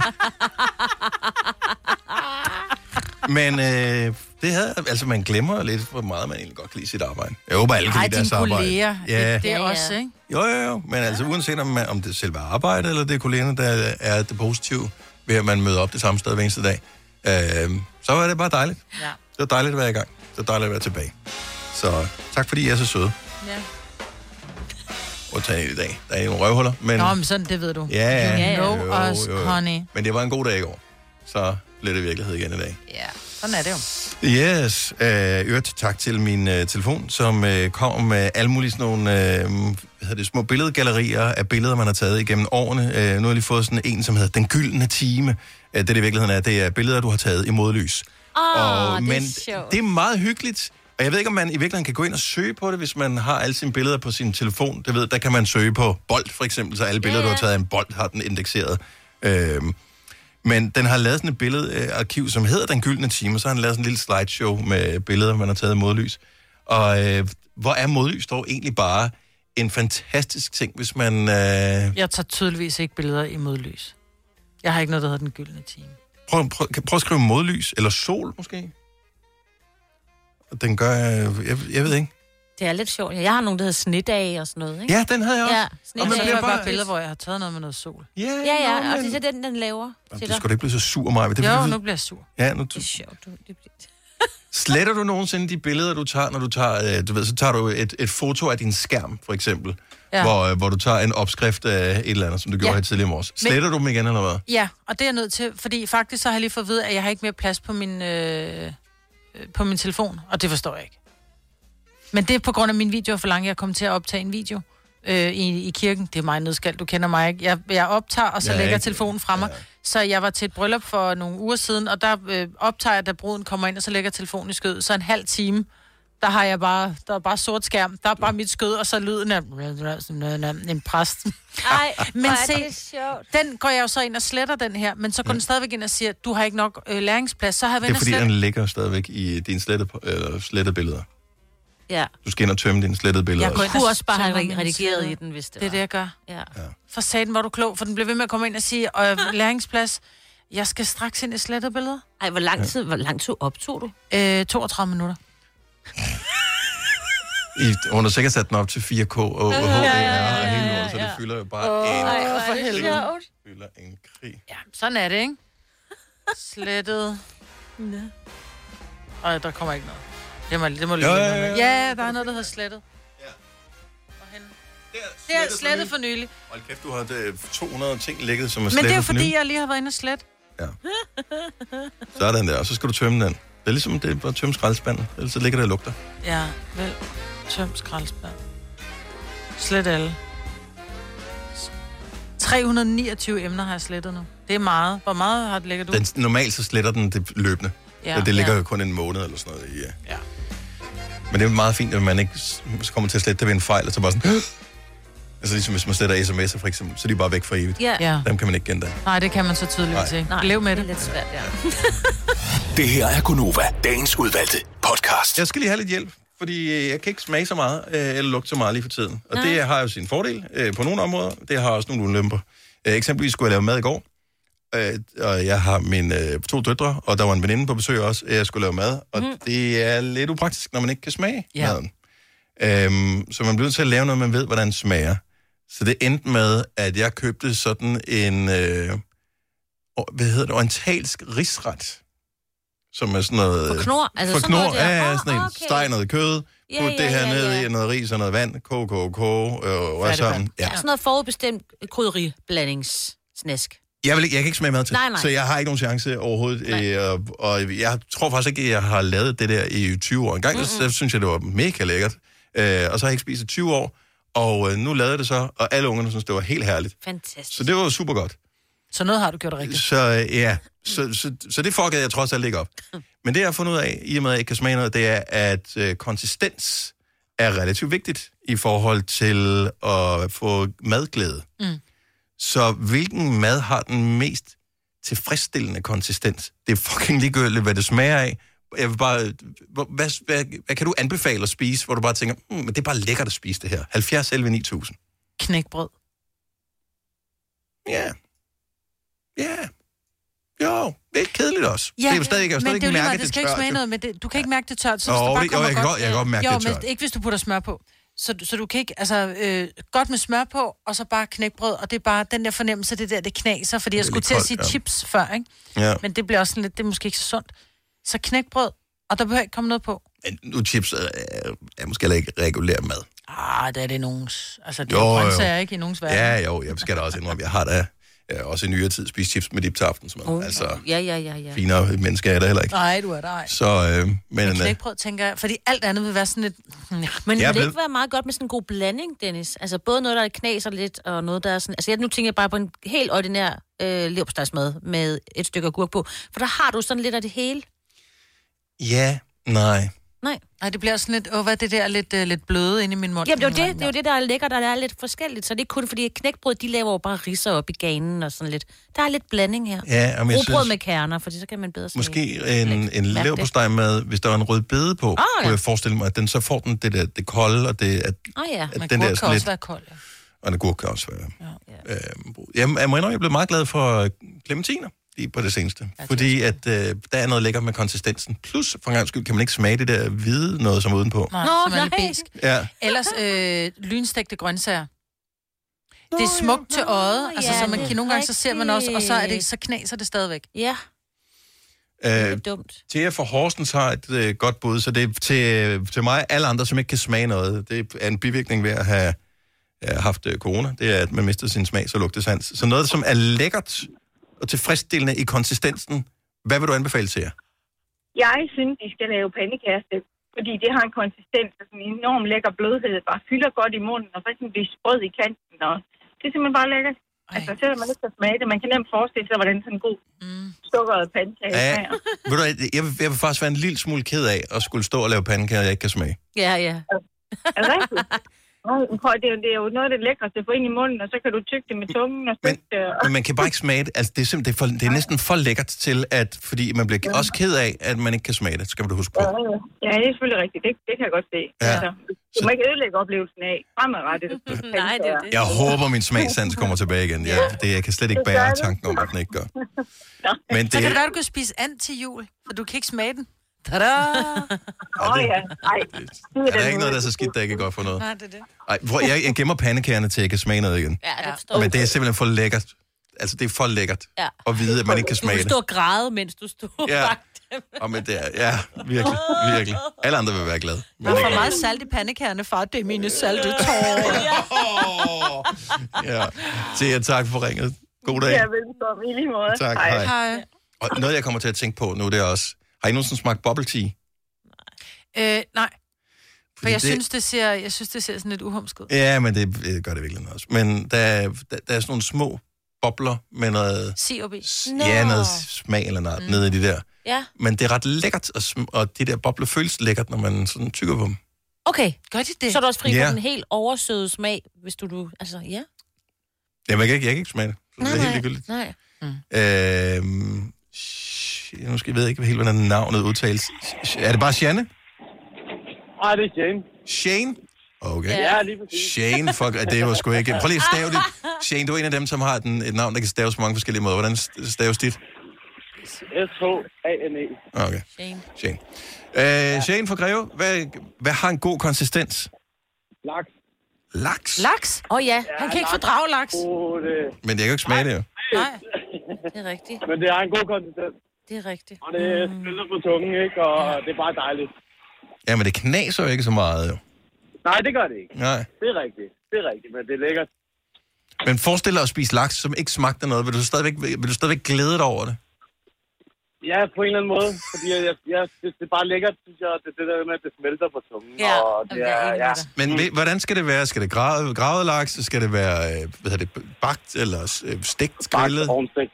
Speaker 1: Men øh, det havde, altså man glemmer lidt, hvor meget man egentlig godt kan lide sit arbejde. Jeg håber, alle kan
Speaker 2: Ej,
Speaker 1: lide deres
Speaker 2: dine
Speaker 1: arbejde.
Speaker 2: kolleger.
Speaker 1: Ja.
Speaker 2: Det, det er også, ikke?
Speaker 1: Jo, jo, jo. Men altså uanset om, man- om det er selve arbejde, eller det er kollegerne, der er det positive, ved at man møder op det samme sted hver eneste dag, øh, så var det bare dejligt.
Speaker 2: Ja.
Speaker 1: Det var dejligt at være i gang. Det var dejligt at være tilbage. Så tak fordi I er så søde.
Speaker 2: Ja.
Speaker 1: Og tage i dag. Der er nogle røvhuller, men...
Speaker 2: Nå, men sådan, det ved du.
Speaker 1: Ja, ja.
Speaker 2: You know
Speaker 1: Jo,
Speaker 2: us,
Speaker 1: jo.
Speaker 2: honey.
Speaker 1: Men det var en god dag i går. Så blev det virkelighed igen i dag.
Speaker 2: Ja, sådan er det jo.
Speaker 1: Yes. Øh, øvrigt tak til min øh, telefon, som øh, kommer med alle mulige sådan nogle øh, hvad hedder det, små billedgallerier af billeder, man har taget igennem årene. Øh, nu har jeg lige fået sådan en, som hedder Den Gyldne Time. Øh, det, det i virkeligheden er, det er billeder, du har taget i modlys.
Speaker 21: Åh, det er
Speaker 1: men
Speaker 21: sjovt.
Speaker 1: det er meget hyggeligt. Og jeg ved ikke, om man i virkeligheden kan gå ind og søge på det, hvis man har alle sine billeder på sin telefon. Det ved, der kan man søge på bold, for eksempel, så alle billeder, yeah. du har taget af en bold, har den indekseret. Øhm, men den har lavet sådan et billedarkiv, som hedder Den Gyldne Time, og så har han lavet sådan en lille slideshow med billeder, man har taget af modlys. Og øh, hvor er modlys dog egentlig bare en fantastisk ting, hvis man... Øh,
Speaker 2: Jeg tager tydeligvis ikke billeder i modlys. Jeg har ikke noget, der hedder den gyldne time.
Speaker 1: prøv, prøv, kan, prøv at skrive modlys, eller sol måske. Den gør... Øh, jeg, jeg ved ikke.
Speaker 3: Det er lidt sjovt. Jeg har nogen, der hedder snedage og sådan noget, ikke?
Speaker 1: Ja, den havde jeg også.
Speaker 3: Ja,
Speaker 2: Og man
Speaker 3: snedage.
Speaker 2: bliver bare billeder, hvor jeg har taget noget med noget sol.
Speaker 1: Ja,
Speaker 3: Ja, ja, og det er så den, den laver. Til
Speaker 1: Du
Speaker 3: dig.
Speaker 1: skal da ikke blive så sur, Maja.
Speaker 2: Jo, nu bliver jeg sur.
Speaker 1: Ja,
Speaker 2: *laughs*
Speaker 1: nu,
Speaker 3: Det er sjovt. Du, det bliver...
Speaker 1: Sletter du nogensinde de billeder, du tager, når du tager, øh, du ved, så tager du et, et foto af din skærm, for eksempel,
Speaker 2: Ja.
Speaker 1: ja. hvor, øh, hvor du tager en opskrift af et eller andet, som du gjorde
Speaker 2: Ja.
Speaker 1: her tidligere i morges.
Speaker 2: Men-
Speaker 1: Sletter du dem igen, eller hvad?
Speaker 2: Ja, og det er jeg nødt til, fordi faktisk så har jeg lige fået at vide, at jeg har ikke mere plads på min, øh, øh, på min telefon, og det forstår jeg ikke. Men det er på grund af min video for langt, jeg kom til at optage en video øh, i, i kirken. Det er mig nødskald, du kender mig ikke. Jeg, jeg optager, og så
Speaker 9: Ja,
Speaker 2: ja, lægger
Speaker 9: ikke?
Speaker 2: ikke. telefonen fra mig. Ja. Så jeg var til et bryllup for nogle uger siden, og der øh, optager jeg, da bruden kommer ind, og så lægger jeg telefonen i skød. Så en halv time, der har jeg bare, der er bare sort skærm, der er bare mit skød, og så lyden af en præst.
Speaker 3: Ej,
Speaker 2: men
Speaker 3: hvor er det
Speaker 2: se, den går jeg jo så ind og sletter den her, men så går den stadigvæk ind og siger, du har ikke nok øh, læringsplads, så har jeg
Speaker 1: Det er
Speaker 2: været
Speaker 1: fordi,
Speaker 2: slet...
Speaker 1: den ligger stadigvæk i dine slettede, eller slettede billeder.
Speaker 3: Ja.
Speaker 1: Du skal ind og tømme dine slettede billeder.
Speaker 3: Jeg går
Speaker 1: også.
Speaker 3: ind kunne også bare have
Speaker 2: søger min
Speaker 3: redigeret
Speaker 2: side.
Speaker 3: i den, hvis det
Speaker 2: Det
Speaker 3: var.
Speaker 2: er det, jeg gør.
Speaker 3: Ja.
Speaker 2: For satan, hvor er du klog, for den blev ved med at komme ind og sige,
Speaker 3: *laughs*
Speaker 2: øh, læringsplads, jeg skal straks ind i slettet billeder.
Speaker 3: Ej, hvor lang tid, hvor lang tid optog du?
Speaker 2: Øh, 32 minutter.
Speaker 1: I, hun har sikkert sat den op til 4K og, og HDR og hele lortet, så det fylder jo bare oh. en...
Speaker 2: Ej, for helvede.
Speaker 1: Fylder en krig.
Speaker 2: Ja, sådan er det, ikke? Slettet. Nej. Ej, der kommer ikke noget. Det må, det må lige
Speaker 1: Jo,
Speaker 2: være
Speaker 1: jo,
Speaker 2: noget
Speaker 1: jo, jo.
Speaker 2: med. Ja, der er noget, der hedder slettet. Ja. Det er slettet for nylig.
Speaker 1: Hold kæft, du har øh, 200 ting ligget, som er
Speaker 2: Men det er jo
Speaker 1: slettet for
Speaker 2: fordi,
Speaker 1: nylig.
Speaker 2: jeg lige har været inde og slet.
Speaker 1: Sådan der, og så skal du tømme den. Det er ligesom det er bare at tømme skraldespanden, ellers så ligger der og lugter.
Speaker 2: *laughs* Ja, vel. Tøm skraldespand. Slet alle. 329 emner har jeg slettet nu. Det er meget. Hvor meget har det ligger du?
Speaker 1: Den, normalt så sletter den det løbende.
Speaker 2: Ja,
Speaker 1: Ja, det ligger
Speaker 2: ja.
Speaker 1: jo kun en måned eller sådan noget i. Ja.
Speaker 2: ja.
Speaker 1: Men det er meget fint, at man ikke s- så kommer til at slette det ved en fejl, og så bare sådan... altså ligesom hvis man sletter sms'er for eksempel, så er de bare væk for evigt.
Speaker 2: Ja. Ja.
Speaker 1: Dem kan man ikke gendanne.
Speaker 2: Nej, det kan man så tydeligt
Speaker 1: Nej.
Speaker 2: se. Lev med det. Det er lidt
Speaker 3: svært, ja.
Speaker 1: Det her er Gunova, dagens udvalgte podcast. Jeg skal lige have lidt hjælp, fordi øh, jeg kan ikke smage så meget, øh, eller lugte så meget lige for tiden. Og
Speaker 21: Nej.
Speaker 1: det har jo sin fordel øh, på nogle områder, det har også nogle ulemper. Øh, Eksempelvis skulle jeg lave mad i går, øh, og jeg har mine øh, to døtre, og der var en veninde på besøg også, øh, jeg skulle lave mad, og mm. det er lidt upraktisk, når man ikke kan smage
Speaker 22: Ja.
Speaker 1: ja. maden. Øhm, så man bliver nødt til at lave noget, man ved, hvordan smager. Så det endte med, at jeg købte sådan en, øh, or- hvad hedder det, orientalsk risret. Som er sådan noget...
Speaker 3: For knor? Altså
Speaker 1: Altså for
Speaker 3: sådan
Speaker 1: knor,
Speaker 3: noget der?
Speaker 1: ja, ja,
Speaker 3: Åh,
Speaker 1: sådan en.
Speaker 3: okay.
Speaker 1: Okay. Steg noget kød,
Speaker 3: Ja,
Speaker 1: ja, put
Speaker 3: ja,
Speaker 1: det her
Speaker 3: ja,
Speaker 1: ned
Speaker 3: ja.
Speaker 1: i noget ris og noget vand, kog, kog, kog, øh, rør sammen. Ja.
Speaker 3: Sådan noget forudbestemt krydderiblandingssnæsk.
Speaker 1: Jeg, vil ikke, jeg kan ikke smage mad til,
Speaker 3: Nej, nej.
Speaker 1: så jeg har ikke nogen chance overhovedet. Øh, og, og jeg tror faktisk ikke, at jeg har lavet det der i 20 år. En gang, mm-hmm. så synes jeg, det var mega lækkert. Øh, og så har jeg ikke spist i 20 år, og øh, nu lavede jeg det så, og alle ungerne synes, det var helt herligt.
Speaker 3: Fantastisk.
Speaker 1: Så det var jo super godt.
Speaker 2: Så noget har du gjort rigtigt.
Speaker 1: Så øh, ja, så, så, så det fuckede jeg trods alt ikke op. Men det, jeg har fundet ud af, i og med, at jeg ikke kan smage noget, det er, at øh, konsistens er relativt vigtigt i forhold til at få madglæde.
Speaker 2: Mm.
Speaker 1: Så hvilken mad har den mest tilfredsstillende konsistens? Det er fucking ligegyldigt, hvad det smager af. Jeg vil bare, øh, hvor- hvad, hvad, hvad kan du anbefale at spise, hvor du bare tænker, mm, men det er bare lækkert at spise det her. 70 11 9000.
Speaker 2: Knækbrød.
Speaker 1: Ja. Ja. Jo, det er kedeligt også. Ja, det er jo stadig, jeg kan jo
Speaker 2: men
Speaker 1: stadig
Speaker 2: det er jo
Speaker 1: ikke
Speaker 2: lige
Speaker 1: mærke,
Speaker 2: meget,
Speaker 1: at
Speaker 2: det
Speaker 1: det
Speaker 2: skal
Speaker 1: er
Speaker 2: ikke
Speaker 1: tørt.
Speaker 2: smage
Speaker 1: jo.
Speaker 2: noget, men det, du kan ikke mærke det tørt, så hvis
Speaker 1: Åh,
Speaker 2: du bare
Speaker 1: det-
Speaker 2: kommer
Speaker 1: jo, jeg kan
Speaker 2: godt...
Speaker 1: godt- jeg kan godt mærke,
Speaker 2: jo,
Speaker 1: det er tørt.
Speaker 2: men ikke hvis du putter smør på. Så, du- så du kan ikke, altså, øh, godt med smør på, og så bare knækbrød, og det er bare den der fornemmelse, det der, det knaser, fordi
Speaker 1: Det er
Speaker 2: jeg skulle
Speaker 1: lidt
Speaker 2: til at
Speaker 1: koldt,
Speaker 2: sige
Speaker 1: ja.
Speaker 2: chips før, ikke?
Speaker 1: Ja.
Speaker 2: Men det bliver også sådan lidt, det er måske ikke så sundt. Så knækbrød, og der behøver ikke komme noget på.
Speaker 1: Men nu chips er, er, er måske heller ikke regulær mad.
Speaker 2: Ah, der er det nogens. Altså, det er jo, grøntsager, ikke? I nogens verden.
Speaker 1: Ja, jo, jeg skal da også indrømme, jeg har da øh, også i nyere tid spist chips med dip til aftensmad.
Speaker 2: Uh,
Speaker 1: Oh, altså,
Speaker 3: Ja, ja, ja, ja.
Speaker 1: finere mennesker er der heller ikke.
Speaker 2: Nej, du er der ej.
Speaker 1: Så, øh, men, øh,
Speaker 2: Knækbrød, tænker jeg, fordi alt andet vil være sådan lidt... Hmm,
Speaker 3: Men
Speaker 1: Jeg
Speaker 3: vil det
Speaker 1: ved-
Speaker 3: ikke være meget godt med sådan en god blanding, Dennis? Altså både noget, der knaser lidt, og noget, der er sådan... Altså jeg, nu tænker jeg bare på en helt ordinær øh, leverpostejsmad med et stykke agurk på. For der har du sådan lidt af det hele.
Speaker 1: ja, nej.
Speaker 3: Nej.
Speaker 2: Nej, det bliver sådan lidt, åh, hvad er det der lidt, øh, lidt bløde inde i min mund?
Speaker 3: Jamen, det er jo det, det, er jo det der er lækkert, og der er lidt forskelligt. Så det er ikke kun fordi, at knækbrød, de laver jo bare risser op i ganen og sådan lidt. Der er lidt blanding her.
Speaker 1: Ja, men jeg
Speaker 3: Rugbrød
Speaker 1: synes-
Speaker 3: med kerner, fordi så kan man bedre smage.
Speaker 1: Måske en, en
Speaker 3: Mærk det.
Speaker 1: leverpostej med, hvis der var en rød bede på,
Speaker 2: Ah,
Speaker 1: oh,
Speaker 3: ja.
Speaker 1: ja. kunne jeg forestille mig, at den så får den det, der, det kolde, og det, at,
Speaker 3: Åh oh, ja.
Speaker 1: at den der er sådan lidt,
Speaker 2: kold, ja.
Speaker 1: og en agurk kan også være. Ja. Øh, jeg, jeg må indrømme, jeg blev meget glad for øh, clementiner lige på det seneste. fordi at øh, der er noget lækkert med konsistensen. Plus, for en gang skyld, kan man ikke smage det der hvide noget, som er udenpå.
Speaker 2: Nej,
Speaker 3: Nå,
Speaker 2: Nå, som er lidt
Speaker 3: nej.
Speaker 2: besk.
Speaker 1: Ja.
Speaker 2: Ellers øh, lynstegte grøntsager. Det er smukt til øjet, altså
Speaker 3: ja,
Speaker 2: så man
Speaker 3: det er
Speaker 2: kan nogle gange så ser man også, og så er det
Speaker 3: rigtigt.
Speaker 2: så knaser det stadigvæk.
Speaker 3: Ja.
Speaker 1: Øh,
Speaker 3: dumt.
Speaker 1: Thea fra Horsens har et øh, godt bud, så det er til, til mig alle andre, som ikke kan smage noget. Det er en bivirkning ved at have øh, haft øh, corona. Det er, at man mister sin smag, så lugtesans. Så noget, som er lækkert og tilfredsstillende i konsistensen, hvad vil du anbefale til jer?
Speaker 8: Jeg synes, de skal lave pandekaste, fordi det har en konsistens og sådan en enorm lækker blødhed, der bare fylder godt i munden, og så kan den blive sprød i kanten, og det er simpelthen bare lækkert. Altså, selvom man ikke kan smage det, man kan nemt forestille sig, hvordan sådan en god mm. sukkeret pandekage
Speaker 1: Ja,
Speaker 8: smager.
Speaker 1: ved du, hvad, jeg, vil, jeg vil faktisk være en lille smule ked af at skulle stå og lave pandekager, jeg ikke kan smage.
Speaker 3: Ja, ja.
Speaker 8: Er det rigtigt? Nej, men prøv, at- det, er jo- det er jo noget af det lækreste at få ind i munden, og så kan du tygge det med tungen og stygge det. Og...
Speaker 1: Men man kan bare ikke smage det. Altså, det er, simpelthen, det er, for, det er næsten for lækkert til, at, fordi man bliver også ked af, at man ikke kan smage det. Skal man da huske på.
Speaker 8: Ja, ja. Ja, det er selvfølgelig rigtigt. Det, det kan jeg godt se.
Speaker 1: Ja.
Speaker 8: Altså, du må ikke ødelægge oplevelsen af fremadrettet. Nej, det er
Speaker 1: Jeg håber, min smagsans kommer tilbage igen. Jeg, det, jeg kan slet ikke
Speaker 8: Det gør
Speaker 1: bære
Speaker 8: det.
Speaker 1: tanken om, at den ikke gør.
Speaker 2: Så
Speaker 1: Men
Speaker 2: kan
Speaker 1: det,
Speaker 2: det være, du kan spise and til jul, for du kan ikke smage den. Tada! Åh
Speaker 8: ja, nej.
Speaker 1: er der ikke noget, der er så skidt, der ikke er godt for noget.
Speaker 2: Nej, det er det.
Speaker 1: Ej, hvor, jeg, jeg gemmer pandekagerne til, at jeg kan smage noget igen.
Speaker 3: Ja, det forstår
Speaker 1: Men
Speaker 3: jeg.
Speaker 1: det er simpelthen for lækkert. Altså, det er for lækkert
Speaker 3: Ja.
Speaker 1: at vide, at man ikke kan
Speaker 3: Du
Speaker 1: smage
Speaker 3: kunne
Speaker 1: det.
Speaker 3: stå og græde, mens du stod
Speaker 1: Ja.
Speaker 3: ja.
Speaker 1: Og men det er, ja, virkelig, virkelig. Alle andre vil være glade.
Speaker 2: Der
Speaker 1: Men
Speaker 2: er
Speaker 1: ikke.
Speaker 2: for meget salt i pandekærne, far. Det er mine salte
Speaker 1: *laughs*
Speaker 2: tårer.
Speaker 1: Ja. Thea, tak for ringet. God dag.
Speaker 8: Ja, velkommen i lige måde.
Speaker 1: Tak, hej. Og noget, jeg kommer til at tænke på nu, det er også... Har I nogensinde smagt bubble tea?
Speaker 2: Øh, nej. For
Speaker 1: Fordi
Speaker 2: jeg, det...
Speaker 1: det-
Speaker 2: synes, det ser, jeg synes, det ser sådan lidt uhumsket. ud.
Speaker 1: Ja, men det øh, gør det virkelig noget også. Men der, er- der, der er sådan nogle små bobler med noget...
Speaker 3: COB.
Speaker 1: Ja, noget smag eller noget mm. nede i de der.
Speaker 3: Ja.
Speaker 1: Men det er ret lækkert, og, sm- og de der bobler føles lækkert, når man sådan tykker på dem.
Speaker 3: Okay. Gør de det? Så er du også fri
Speaker 1: Ja.
Speaker 3: for den helt oversøde smag, hvis du... du altså, ja.
Speaker 1: Jamen, jeg kan ikke, jeg kan ikke smage det. Så det er helt ligegyldigt.
Speaker 3: Nej. Mm.
Speaker 1: Øhm, sh- nu skal jeg ved ikke helt, hvordan navnet udtales. Sh- Er det bare Shanne?
Speaker 4: Nej, det er Shane.
Speaker 1: Shane? Okay.
Speaker 4: Ja, lige præcis.
Speaker 1: Shane, fuck, ej, det var sgu ikke... Prøv lige at stave dit. Shane, du er en af dem, som har den, et navn, der kan staves på mange forskellige måder. Hvordan st- staves dit?
Speaker 5: E.
Speaker 1: Ah,
Speaker 4: S-H-A-N-E.
Speaker 1: Okay.
Speaker 3: Shane.
Speaker 1: Shane. Øh, Shane fra Greve, hvad, hvad har en god konsistens?
Speaker 4: Laks.
Speaker 1: Laks?
Speaker 2: Laks?
Speaker 3: Åh oh, ja, han kan ikke fordrage laks.
Speaker 4: Oh, det...
Speaker 1: Men jeg kan jo ikke smage det jo.
Speaker 3: Nej, det er rigtigt.
Speaker 4: Men det har en god konsistens.
Speaker 3: Det er rigtigt. Mm.
Speaker 4: Og det spiller på tungen, ikke? Og det er bare dejligt.
Speaker 1: Jamen, det knaser jo ikke så meget jo.
Speaker 4: Nej, det gør det ikke.
Speaker 1: Nej.
Speaker 4: Det er rigtigt. Det er rigtigt, men det er lækkert.
Speaker 1: Men forestil dig at spise laks, som ikke smagte af noget. Vil du stadigvæk, vil du stadigvæk glæde dig over det?
Speaker 4: Ja, på en eller anden måde. Fordi jeg, jeg, jeg, det, det, er bare lækkert, synes jeg. Det er det der med, at det smelter på tungen.
Speaker 3: Ja,
Speaker 4: og det
Speaker 3: jeg er
Speaker 4: er,
Speaker 3: enig med
Speaker 4: ja.
Speaker 3: dig.
Speaker 1: Men ved- hvordan skal det være? Skal det grave, gravet laks? Skal det være øh, hvad hedder det, bagt eller øh, stegt, grillet?
Speaker 4: Ovnstegt.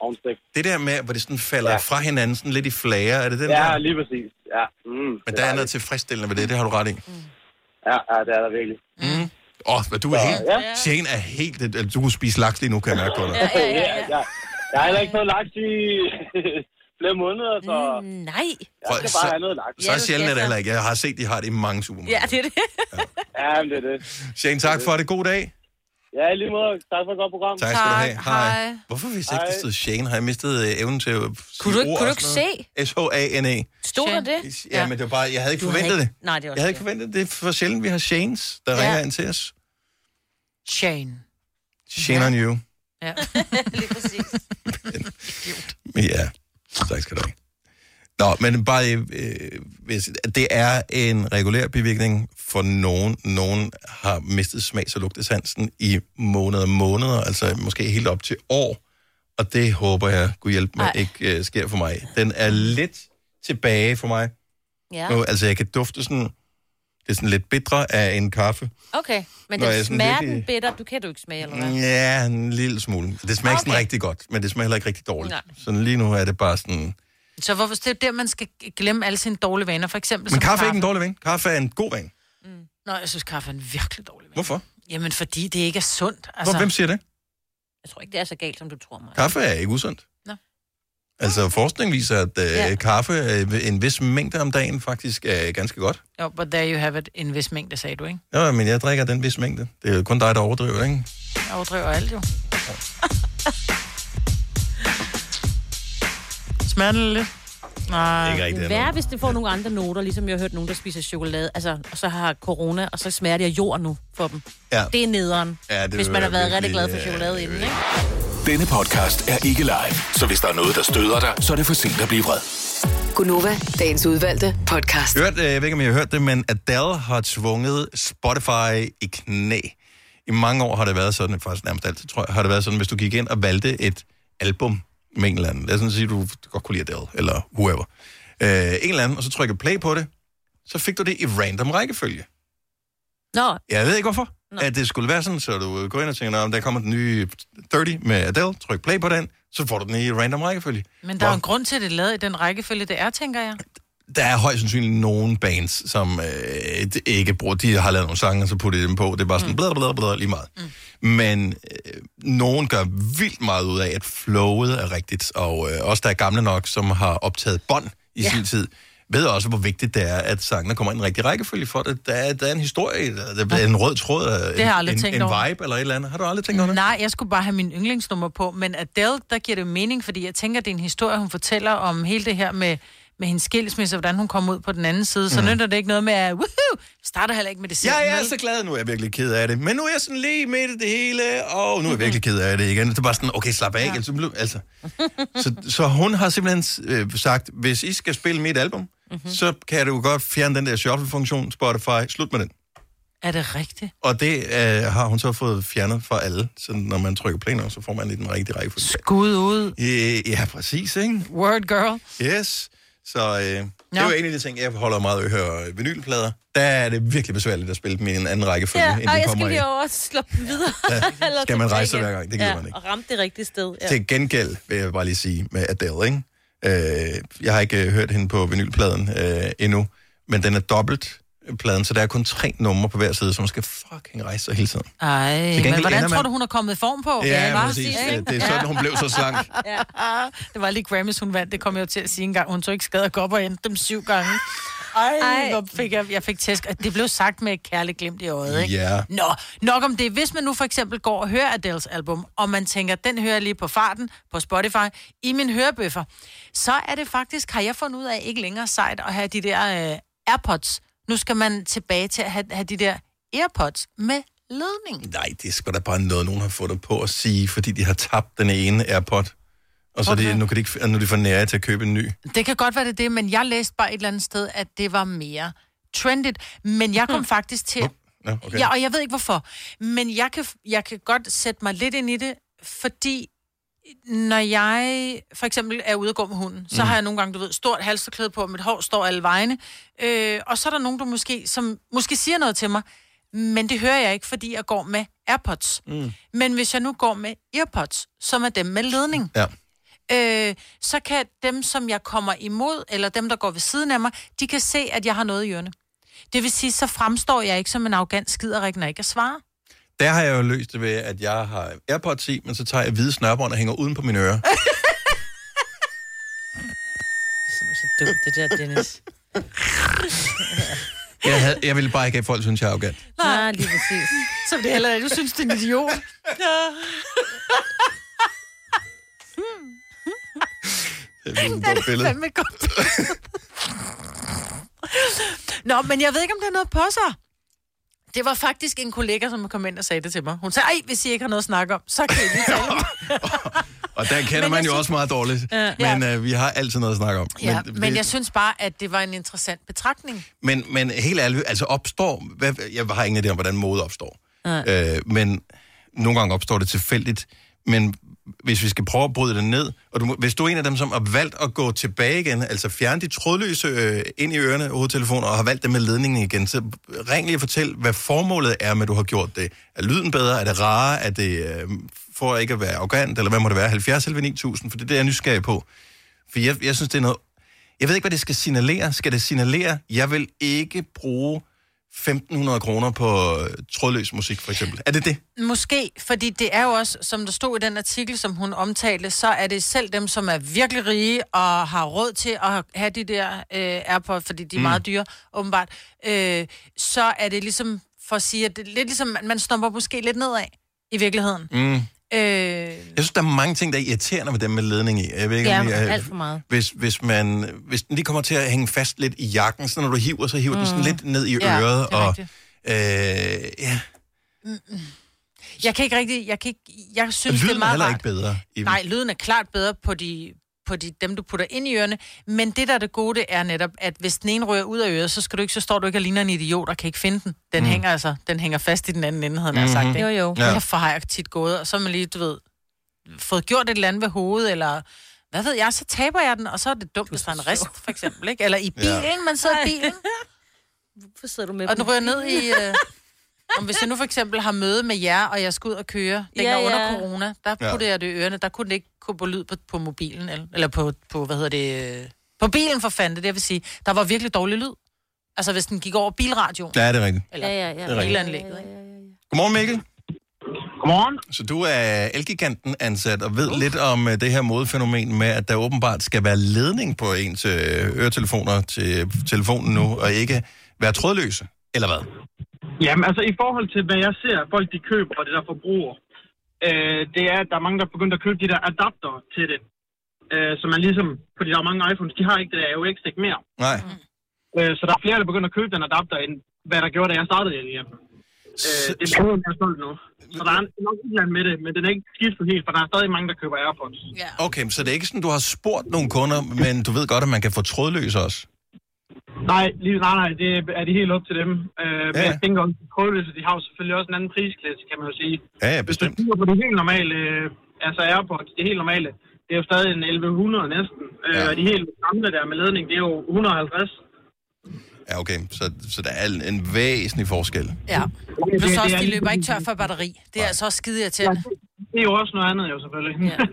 Speaker 4: Ovnstegt.
Speaker 1: Det der med, hvor det sådan falder ja. fra hinanden sådan lidt i flager, er det den
Speaker 4: ja,
Speaker 1: der?
Speaker 4: lige præcis. Ja. Mm,
Speaker 1: Men der er noget tilfredsstillende ved det, det har du ret i.
Speaker 4: Ja, ja, det er der virkelig.
Speaker 1: Mm. Åh, oh, du er
Speaker 4: Så,
Speaker 1: helt...
Speaker 4: ja.
Speaker 1: Shane er helt... øh, Du kunne spise laks lige nu, kan jeg mærke på dig.
Speaker 4: Ja, ja, ja. ja. Jeg har heller ikke fået laks i *laughs* flere måneder, så...
Speaker 3: Mm, Nej.
Speaker 4: Jeg skal bare have noget laks.
Speaker 1: så, så sjældent er det heller ikke. Jeg har set, de har det i mange supermarkeder.
Speaker 3: Ja, det er det.
Speaker 4: Ja, men det er det.
Speaker 1: Shane, tak for det. God dag.
Speaker 4: Ja, i lige måde. Tak for et godt program.
Speaker 1: Tak skal du have. Hej. Hvorfor hvis ikke det stod Shane? Har jeg mistet øh, evnen til at
Speaker 3: Kunne du ikke- kunne du ikke
Speaker 1: se? S-H-A-N-E.
Speaker 3: Stod der det?
Speaker 1: Ja, E. men det var bare, jeg havde ikke
Speaker 3: Du havde
Speaker 1: forventet
Speaker 3: ikke-
Speaker 1: det.
Speaker 3: Nej, det er også
Speaker 1: jeg havde ikke forventet det. Det er for sjældent, vi har Shanes, der
Speaker 2: Ja.
Speaker 1: ringer ind til os.
Speaker 2: Shane.
Speaker 1: Shane on you.
Speaker 2: Ja.
Speaker 3: *laughs* Lige præcis.
Speaker 1: Ja, tak skal du have. Nå, men bare, øh, hvis, det er en regulær bivirkning for nogen. Nogen har mistet smags- og lugtesansen i måneder og måneder, altså måske helt op til år. Og det håber jeg, kunne hjælpe mig,
Speaker 3: Ej.
Speaker 1: ikke øh, sker for mig. Den er lidt tilbage for mig.
Speaker 3: Ja.
Speaker 1: Nu, altså, jeg kan dufte sådan, det er sådan lidt bitre af en kaffe.
Speaker 3: Okay, men
Speaker 1: Nå, jeg er
Speaker 3: den
Speaker 1: sådan
Speaker 3: smerten
Speaker 1: virkelig-
Speaker 3: bitter, du kan du ikke smage, eller hvad?
Speaker 1: Ja, en lille smule. Det smager okay. sådan
Speaker 2: Okay.
Speaker 1: rigtig godt, men det smager heller ikke rigtig dårligt.
Speaker 2: Nej.
Speaker 1: Så lige nu er det bare sådan...
Speaker 2: *laughs* Så hvorfor det er jo der, man skal glemme alle sine dårlige vaner, for eksempel
Speaker 1: Men
Speaker 2: som
Speaker 1: kaffe er ikke en dårlig vane. Kaffe er en god vane.
Speaker 2: Nå, jeg synes, kaffe er en virkelig dårlig vane.
Speaker 1: Hvorfor?
Speaker 2: Jamen, fordi det ikke er sundt.
Speaker 1: Altså... Hvem siger det?
Speaker 3: Jeg tror ikke, det er så galt, som du tror mig.
Speaker 1: Kaffe er ikke usundt.
Speaker 2: Nå.
Speaker 1: Altså, forskning viser, at øh,
Speaker 2: Ja.
Speaker 1: ja. kaffe øh, en vis mængde om dagen faktisk er ganske godt.
Speaker 2: Jo, but there you have it. En vis mængde, sagde du, ikke?
Speaker 1: Ja, men jeg drikker den vis mængde. Det er jo kun dig, der overdriver, ikke?
Speaker 2: Jeg overdriver alt,
Speaker 1: *laughs*
Speaker 2: jo. Smager den lidt? Nej.
Speaker 1: Ikke rigtig,
Speaker 3: Det er
Speaker 1: eller
Speaker 3: Ah, værre, hvis det får nogle andre noter, ligesom jeg har hørt nogen, der spiser chokolade, altså, og så har corona, og så smager det af jord nu for dem.
Speaker 1: Ja.
Speaker 3: Det er nederen,
Speaker 1: Ja, det
Speaker 3: hvis
Speaker 1: vil
Speaker 3: man har
Speaker 1: være
Speaker 3: været rigtig
Speaker 1: virkelig, øh,
Speaker 3: glad for
Speaker 1: ja,
Speaker 3: chokolade inden, ikke?
Speaker 13: Denne podcast er ikke live, så hvis der er noget, der støder dig, så er det for sent at blive vred.
Speaker 6: Gunova, dagens udvalgte podcast.
Speaker 1: Hørt, øh, jeg ved ikke, om I har hørt det, men Adele har tvunget Spotify i knæ. I mange år har det været sådan, faktisk nærmest altid, tror jeg, har det været sådan, hvis du gik ind og valgte et album med en eller anden. Lad os sådan sige, du godt kunne lide Adele, eller whoever. Øh, en eller anden, og så trykkede play på det, så fik du det i random rækkefølge.
Speaker 3: Nå,
Speaker 1: Jeg ved ikke hvorfor, Nå. at det skulle være sådan, så du går ind og tænker, om der kommer den nye 30 med Adele, tryk play på den, så får du den i random rækkefølge.
Speaker 2: Men der er jo en grund til, at det er lavet i den rækkefølge, det er, tænker jeg.
Speaker 1: der er højst sandsynligt nogen bands, som øh, d- ikke bruger, de har lavet nogle sange, og så putter de dem på. Det er bare sådan, mm. bladder, bladder, bladder, lige meget. Mm. Men øh, nogen gør vildt meget ud af, at flowet er rigtigt, og øh, også der er gamle nok, som har optaget bånd i ja. sin tid, ved også, hvor vigtigt det er, at sangene kommer i den rigtige rækkefølge for det. Der er, der er en historie, i det. der er en rød tråd,
Speaker 2: Det
Speaker 1: en,
Speaker 2: har jeg aldrig
Speaker 1: Øh, en,
Speaker 2: tænkt
Speaker 1: en
Speaker 2: over.
Speaker 1: vibe eller et eller andet. Har du aldrig tænkt over det?
Speaker 2: Nej, jeg skulle bare have min yndlingsnummer på, men Adele, der giver det jo mening, fordi jeg tænker, det er en historie, hun fortæller om hele det her med, med hendes skilsmisse, og hvordan hun kom ud på den anden side. Så
Speaker 1: Mhm.
Speaker 2: mm. nytter det ikke noget med, at woohoo, starter heller ikke med det selv.
Speaker 1: Jeg er så glad, nu er jeg virkelig ked af det. Men nu er jeg sådan lige midt i det hele, og nu er jeg virkelig ked af det igen. Det er bare sådan, okay, slap af. Ja. Altså, blev- altså. Så, så hun har simpelthen øh, sagt, hvis I skal spille mit album,
Speaker 3: Mhm.
Speaker 1: mm-hmm. så kan du godt fjerne den der shuffle-funktion, Spotify, slut med den.
Speaker 2: Er det rigtigt?
Speaker 1: Og det øh, har hun så fået fjernet fra alle, så når man trykker play nu, så får man i den rigtige rækkefølge.
Speaker 2: Skud ud.
Speaker 1: Øh, ja, præcis, ikke?
Speaker 2: Word girl.
Speaker 1: Yes. Så øh, det var en af de ting, jeg holder meget af at høre vinylplader. Der er det virkelig besværligt at spille dem i en anden rækkefølge,
Speaker 3: Ja,
Speaker 1: end de
Speaker 3: og jeg
Speaker 1: kommer
Speaker 3: skal
Speaker 1: i.
Speaker 3: lige over og slå dem videre.
Speaker 1: Ja,
Speaker 3: *laughs* Eller
Speaker 1: skal man
Speaker 3: tilbage
Speaker 1: rejse sig
Speaker 3: igen.
Speaker 1: hver gang? Det gider
Speaker 3: ja,
Speaker 1: man ikke.
Speaker 3: og ramme det rigtige sted. Ja.
Speaker 1: Til gengæld vil jeg bare lige sige med Adele, ikke? Øh, jeg har ikke øh, hørt hende på vinylpladen øh, endnu, men den er dobbelt øh, pladen, så der er kun tre numre på hver side, så man skal fucking rejse sig hele tiden.
Speaker 2: Ej,
Speaker 1: gengæld
Speaker 2: men hvordan
Speaker 1: ender
Speaker 2: tror
Speaker 1: man-
Speaker 2: du, hun er kommet i form på?
Speaker 1: Ja,
Speaker 2: bare
Speaker 1: præcis.
Speaker 2: sige,
Speaker 1: Ja,
Speaker 2: ikke?
Speaker 1: det er sådan, hun blev så slank.
Speaker 2: *laughs* ja. Det var lige Grammys, hun vandt. Det kom jeg jo til at sige engang. Hun tog ikke skade og gå op og endte dem syv gange. Ej,
Speaker 3: Ej.
Speaker 2: Ej. Hvor fik jeg, jeg fik tæsk. Og Det blev sagt med et kærligt glimt i øjet, ikke?
Speaker 1: Ja.
Speaker 2: Nå, nok om det. Hvis man nu for eksempel går og hører Adele's album, og man tænker, den hører jeg lige på farten på Spotify i min hørebøffer, så er det faktisk, har jeg fundet ud af, ikke længere sejt at have de der øh, AirPods. Nu skal man tilbage til at have, have de der AirPods med ledning.
Speaker 1: Nej, det er sgu da bare noget, nogen har fundet på at sige, fordi de har tabt den ene AirPod, og så er de, nu, kan de ikke, nu er de for nære til at købe en ny.
Speaker 2: Det kan godt være det er det, men jeg læste bare et eller andet sted, at det var mere trendet. Men jeg kom hmm. faktisk til...
Speaker 1: Nå, okay.
Speaker 2: Ja, og jeg ved ikke hvorfor. Men jeg kan, jeg kan godt sætte mig lidt ind i det, fordi når jeg for eksempel er ude og gå med hunden, så
Speaker 4: Mhm.
Speaker 2: mm. har jeg nogle gange, du ved, stort halsterklæde på, og mit hår står alle vegne. Øh, og så er der nogen, der måske, som måske siger noget til mig, men det hører jeg ikke, fordi jeg går med AirPods.
Speaker 1: Mm.
Speaker 2: Men hvis jeg nu går med earpods, som er dem med ledning,
Speaker 1: Ja.
Speaker 2: øh, så kan dem, som jeg kommer imod, eller dem, der går ved siden af mig, de kan se, at jeg har noget i ørene. Det vil sige, så fremstår jeg ikke som en arrogant skiderik, når jeg ikke kan svare.
Speaker 1: Der har jeg jo løst det ved, at jeg har AirPods i, men så tager jeg hvide snørbånd og hænger uden på mine ører.
Speaker 3: Så dumt det der,
Speaker 1: *laughs*
Speaker 3: Dennis.
Speaker 1: Jeg, havde, jeg ville bare ikke have, at folk synes, jeg er arrogant.
Speaker 3: Nej, Nej lige præcis.
Speaker 2: *laughs* Så det heller ikke. Du synes, det er en
Speaker 3: *laughs*
Speaker 2: idiot.
Speaker 1: Det er et godt billede.
Speaker 2: fandme et godt billede. Nå, men jeg ved ikke, om det er noget på sig. Det var faktisk en kollega, som kom ind og sagde det til mig. Hun sagde, ej, hvis I ikke har noget at snakke om, så kan I
Speaker 1: *laughs*
Speaker 2: lige tale om det."
Speaker 1: Og der kender man jo også meget dårligt.
Speaker 2: Ja.
Speaker 1: Men øh, vi har altid noget at snakke om.
Speaker 2: Ja, men,
Speaker 1: det-
Speaker 2: men jeg synes bare, at det var en interessant betragtning.
Speaker 1: men, men helt ærligt, altså opstår... Hvad, jeg har ingen idé om, hvordan mode opstår.
Speaker 2: Nej.
Speaker 1: Øh, men nogle gange opstår det tilfældigt. Men hvis vi skal prøve at bryde det ned... Og du, må- hvis du er en af dem, som har valgt at gå tilbage igen, altså fjerne de trådløse øh, ind i ørerne, hovedtelefoner, og har valgt det med ledningen igen, så ring lige og fortæl, hvad formålet er med, at du har gjort det. Er lyden bedre? Er det rarere? Er det øh, for ikke at være arrogant? Eller hvad må det være? 70 eller 9000? For det er det, jeg er nysgerrig på. For jeg, jeg synes, det er noget... Jeg ved ikke, hvad det skal signalere. Skal det signalere, jeg vil ikke bruge 1.500 kroner på øh, trådløs musik, for eksempel? Er det det?
Speaker 2: Måske, fordi det er jo også, som der stod i den artikel, som hun omtalte, så er det selv dem, som er virkelig rige og har råd til at have de der øh, AirPods, fordi de er mm.
Speaker 4: Mm.
Speaker 2: meget dyre, åbenbart. Øh, så er det ligesom, for at sige, at det er lidt ligesom, man- man stomper måske lidt nedad i virkeligheden.
Speaker 1: Mm.
Speaker 2: Øh,
Speaker 1: Jeg synes, der er mange ting, der er irriterende med dem med ledning i. Jeg ved ikke, om jeg,
Speaker 2: meget.
Speaker 1: hvis, hvis, man, hvis den lige kommer til at hænge fast lidt i jakken, så når du hiver, så hiver mm. den sådan
Speaker 2: Mm.
Speaker 1: lidt ned i
Speaker 2: Ja,
Speaker 1: øret.
Speaker 2: det er
Speaker 1: og,
Speaker 2: rigtigt.
Speaker 1: øh, ja.
Speaker 2: Jeg kan ikke rigtig... Jeg, kan ikke, jeg synes,
Speaker 1: lyden
Speaker 2: det er meget
Speaker 1: heller
Speaker 2: rart.
Speaker 1: ikke bedre. Even.
Speaker 2: Nej, lyden er klart bedre på de på de, dem, du putter ind i ørerne. Men det, der er det gode, det er netop, at hvis den ene rører ud af øret, så, skal du ikke, så står du ikke og ligner en idiot og kan ikke finde den. Den
Speaker 1: Mm.
Speaker 2: mm. hænger altså, den hænger fast i den anden ende, havde man
Speaker 1: Mhm.
Speaker 2: mm-hmm. sagt. Ikke?
Speaker 1: Jo, jo. Ja.
Speaker 2: Ja. Derfor har jeg tit gået, og så har man lige, du ved, fået gjort et eller andet ved hovedet, eller hvad ved jeg, så taber jeg den, og så er det dumt, hvis der er en rest, for eksempel. Ikke? Eller i bilen, ja. man sidder i bilen.
Speaker 3: Hvorfor sidder du med
Speaker 2: Og den
Speaker 3: dem?
Speaker 2: rører ned i... Øh, om hvis jeg nu for eksempel har møde med jer, og jeg skal ud og køre,
Speaker 3: Ja,
Speaker 2: den ja, under
Speaker 3: ja.
Speaker 2: corona, der
Speaker 3: Ja.
Speaker 2: ja. puttede jeg det i ørerne, der kunne den ikke gå på lyd på, på mobilen, eller, eller på, på, hvad hedder det, øh, på bilen for fanden, det er det, jeg vil sige, der var virkelig dårlig lyd. Altså hvis den gik over bilradioen.
Speaker 1: Ja, det er rigtigt.
Speaker 2: Eller
Speaker 3: ja,
Speaker 1: Det er rigtigt.
Speaker 2: bilanlægget, ikke?
Speaker 1: Godmorgen, Mikkel.
Speaker 5: Godmorgen.
Speaker 1: Så du er elgiganten ansat og ved uh. lidt om øh, det her modefænomen med, at der åbenbart skal være ledning på ens øh, øretelefoner til telefonen nu, og ikke være trådløse, eller hvad?
Speaker 4: Jamen altså i forhold til, hvad jeg ser, folk de køber og det der forbruger, øh, det er, at der er mange, der er begyndt at købe de der adapter til det. Øh, så man ligesom, fordi der er mange iPhones, de har ikke det der AUX ikke mere.
Speaker 1: Nej.
Speaker 4: Øh, så der er flere, der begynder at købe den adapter, end hvad der gjorde, da jeg startede den hjem. Øh, det er blevet mere solgt nu. Så der er nok et eller andet med det, men den er ikke skiftet helt, for der er stadig mange, der køber AirPods.
Speaker 1: Okay, så det er ikke sådan, du har spurgt nogle kunder, men du ved godt, at man kan få trådløse også.
Speaker 4: Nej, lige, nej, nej, det er det helt op til dem. Øh, men
Speaker 1: Ja.
Speaker 4: jeg tænker også, at trådløse, de har jo selvfølgelig også en anden prisklasse, kan man jo sige.
Speaker 1: Ja, ja, bestemt.
Speaker 4: kigger på det helt normale, øh, altså Airpods, det helt normale, det er jo stadig en 1100 næsten. Ja. Øh, og de helt gamle der med ledning, det er jo 150.
Speaker 1: Ja, okay, så, så der er en- en væsentlig forskel.
Speaker 2: Ja.
Speaker 4: det-
Speaker 2: Plus
Speaker 4: det
Speaker 2: også,
Speaker 4: er
Speaker 2: de
Speaker 4: lidt-
Speaker 2: løber ikke tør for batteri. Det er altså også skide irriterende.
Speaker 4: Det er jo også noget andet jo selvfølgelig. *laughs*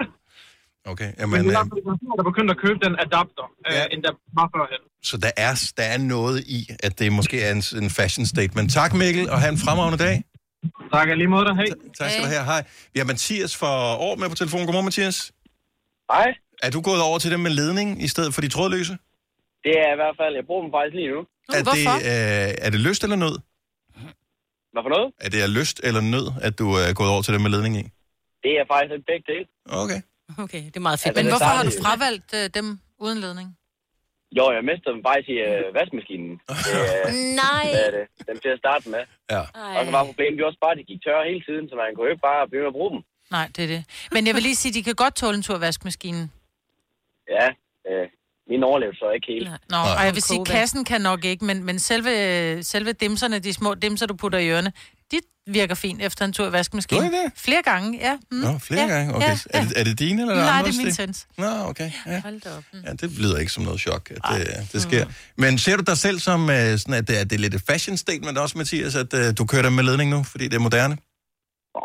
Speaker 4: Ja.
Speaker 1: Okay,
Speaker 4: Men,
Speaker 1: jamen,
Speaker 4: det er i
Speaker 1: øh,
Speaker 4: hvert fald, der er flere, der begyndte at købe den adapter, øh, ja. end der var førhen.
Speaker 1: så der er, der er noget i, at det måske er en, en fashion statement. Tak, Mikkel, og have en fremragende dag.
Speaker 4: Tak, lige måde dig. Hej.
Speaker 1: tak skal du have. Hej. Vi har Mathias for år med på telefonen. Godmorgen, Mathias.
Speaker 5: Hej.
Speaker 1: Er du gået over til dem med ledning i stedet for de trådløse?
Speaker 5: Det er i hvert fald, jeg bruger dem faktisk lige nu.
Speaker 1: er, det, øh, er det lyst eller nød?
Speaker 5: Hvad for noget?
Speaker 1: Er det af lyst eller nød, at du er gået over til dem med ledning i?
Speaker 5: Det er faktisk en begge dele.
Speaker 1: Okay.
Speaker 2: Okay, det er meget fedt.
Speaker 5: Altså,
Speaker 2: Men
Speaker 5: det
Speaker 2: hvorfor har du
Speaker 5: startede-
Speaker 2: fravalgt øh, dem uden ledning?
Speaker 5: Jo, jeg mister dem faktisk i øh,
Speaker 1: *laughs*
Speaker 5: vaskemaskinen. Det, øh,
Speaker 2: Nej.
Speaker 5: Hvad er det? Dem til at starte med.
Speaker 1: Ja.
Speaker 5: Og så var problemet jo også bare, at de gik tørre hele tiden, så man kunne jo ikke bare begynde at bruge dem.
Speaker 2: Nej, det er det. Men jeg vil lige sige, at de kan godt tåle en tur i vaskemaskinen.
Speaker 5: Ja, øh, min overlevede så ikke helt.
Speaker 2: Nå, og jeg vil sige, kassen kan nok ikke, men, men selve, selve dimserne, de små dimser, du putter i ørerne, de virker fint efter en tur i vaskemaskinen.
Speaker 1: Gør de det?
Speaker 2: Flere gange, ja. Mm.
Speaker 1: Nå, flere
Speaker 2: ja.
Speaker 1: ja, gange. Okay.
Speaker 2: Ja.
Speaker 1: Ja, Er, det, er det dine eller
Speaker 2: Nej,
Speaker 1: andres,
Speaker 2: det er min søns.
Speaker 1: Nå, okay. Ja.
Speaker 2: Hold da op. Mm.
Speaker 1: Ja, det lyder ikke som noget chok, at det, det sker. Men ser du dig selv som, øh, sådan, at det er, det er lidt et fashion statement også, Mathias, at øh, du kører dem med ledning nu, fordi det er moderne?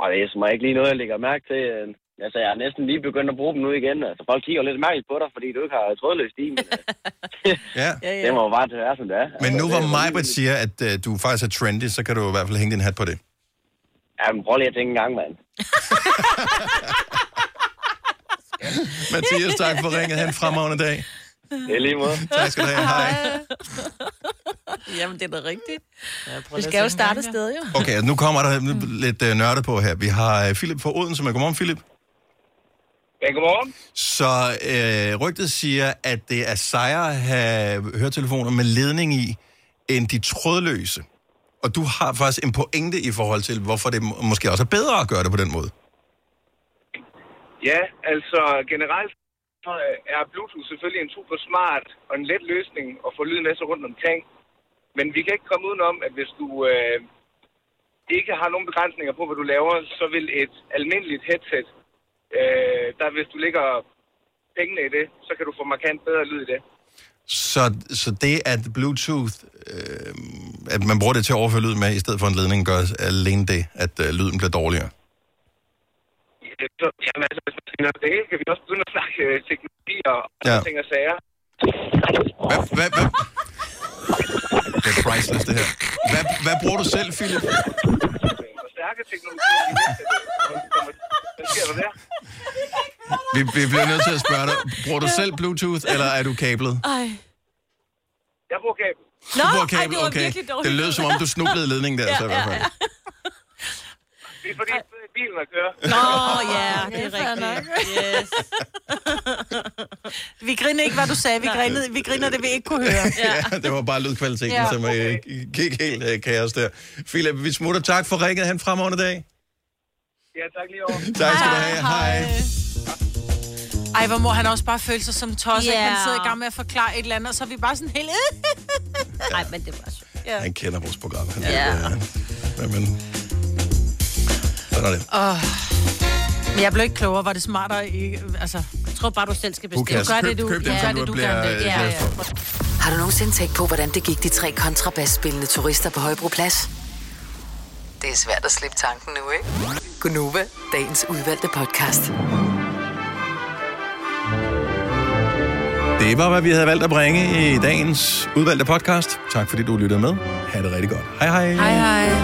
Speaker 5: Og det er som ikke lige noget, jeg lægger mærke til. øh. Altså, jeg er næsten lige begyndt at bruge dem nu igen. Altså, folk kigger jo lidt mærkeligt på dig, fordi du ikke har trådløst i, men
Speaker 1: *laughs* Ja.
Speaker 5: ja, ja. *laughs* det må jo bare være, som det er. Altså,
Speaker 1: Men nu
Speaker 5: det
Speaker 1: hvor
Speaker 5: er jo
Speaker 1: Majbert siger, at øh, du faktisk er trendy, så kan du i hvert fald hænge din hat på det.
Speaker 5: Jamen, prøv lige at tænke en gang, mand.
Speaker 1: Mathias, tak for ringet. Han fremragende dag.
Speaker 5: Det er lige måde.
Speaker 1: *laughs* Tak skal du have. Hej.
Speaker 3: *laughs* Jamen, det er da rigtigt. Ja,
Speaker 2: prøv
Speaker 3: vi
Speaker 2: lige at
Speaker 3: skal jo
Speaker 2: tænke
Speaker 3: starte et sted, jo.
Speaker 1: Okay, og nu kommer der n- lidt øh, nørde på her. Vi har øh, Philip fra Odense med. Godmorgen, Philip.
Speaker 21: Ja, godmorgen.
Speaker 1: Så øh, rygtet siger, at det er sejere at have høretelefoner med ledning i, end de trådløse. Og du har faktisk en pointe i forhold til, hvorfor det må- måske også er bedre at gøre det på den måde.
Speaker 21: Ja, altså generelt så øh, er Bluetooth selvfølgelig en super smart og en let løsning at få lyden med sig rundt omkring. Men vi kan ikke komme udenom, at hvis du øh, ikke har nogen begrænsninger på, hvad du laver, så vil et almindeligt headset, øh, der hvis du lægger pengene i det, så kan du få markant bedre lyd i det.
Speaker 1: Så, så det, at Bluetooth, øh, at man bruger det til at overføre lyd med, i stedet for en ledning, gør alene det, at øh, lyden bliver dårligere.
Speaker 21: Øh, Så, jamen altså, hvis man tænker det hele, kan vi også begynde at snakke øh, teknologi og
Speaker 1: Ja.
Speaker 21: ja. ting og sager.
Speaker 1: Hvad, hvad, hvad? Det er priceless, det her. Hvad, hvad bruger du selv, Philip?
Speaker 21: Stærke teknologier, vi ved, at- hvad sker der der?
Speaker 1: Vi, vi bliver nødt til at spørge dig, bruger du selv Bluetooth, eller er du kablet?
Speaker 21: Ej. Jeg bruger kabel.
Speaker 1: Du bruger kablet, okay. Det lød som om, du snublede ledningen der, så i hvert fald.
Speaker 21: Det er fordi, jeg sidder i bilen og kører.
Speaker 2: Nå, ja, det er rigtigt. Yes. vi griner ikke, hvad du sagde. Vi, grinede, vi griner det, vi ikke kunne høre.
Speaker 1: *laughs* Ja, det var bare lydkvaliteten,
Speaker 2: Ja.
Speaker 1: ja. som øh, gik helt øh, kaos der. Philip, vi smutter. Tak for ringet. Han fremragende dag.
Speaker 21: Ja, tak lige over.
Speaker 1: Tak skal du have. Hej.
Speaker 2: Ej, hvor må han også bare føle sig som tosset.
Speaker 3: Ja.
Speaker 2: Yeah. Han sidder i gang med at forklare et eller andet, og så er vi bare sådan helt...
Speaker 3: Nej, men det var sjovt.
Speaker 2: Ja.
Speaker 1: Han kender vores program. Han
Speaker 3: Ja.
Speaker 1: ved, øh, hvad man... Sådan er det.
Speaker 2: Oh. Men jeg blev ikke klogere. Var det smartere? I, altså, jeg
Speaker 3: tror bare, du selv skal
Speaker 1: Who bestemme. cares? Køb- køb den, som du bliver, øh, glad
Speaker 6: Har du nogensinde tænkt på, hvordan det gik de tre kontrabasspillende turister på Højbroplads? Det er svært at slippe tanken nu, ikke? Gunova, dagens udvalgte podcast.
Speaker 1: Det var, hvad vi havde valgt at bringe i dagens udvalgte podcast. Tak fordi du lyttede med. Ha' det rigtig godt. Hej hej.
Speaker 2: Hej, hej.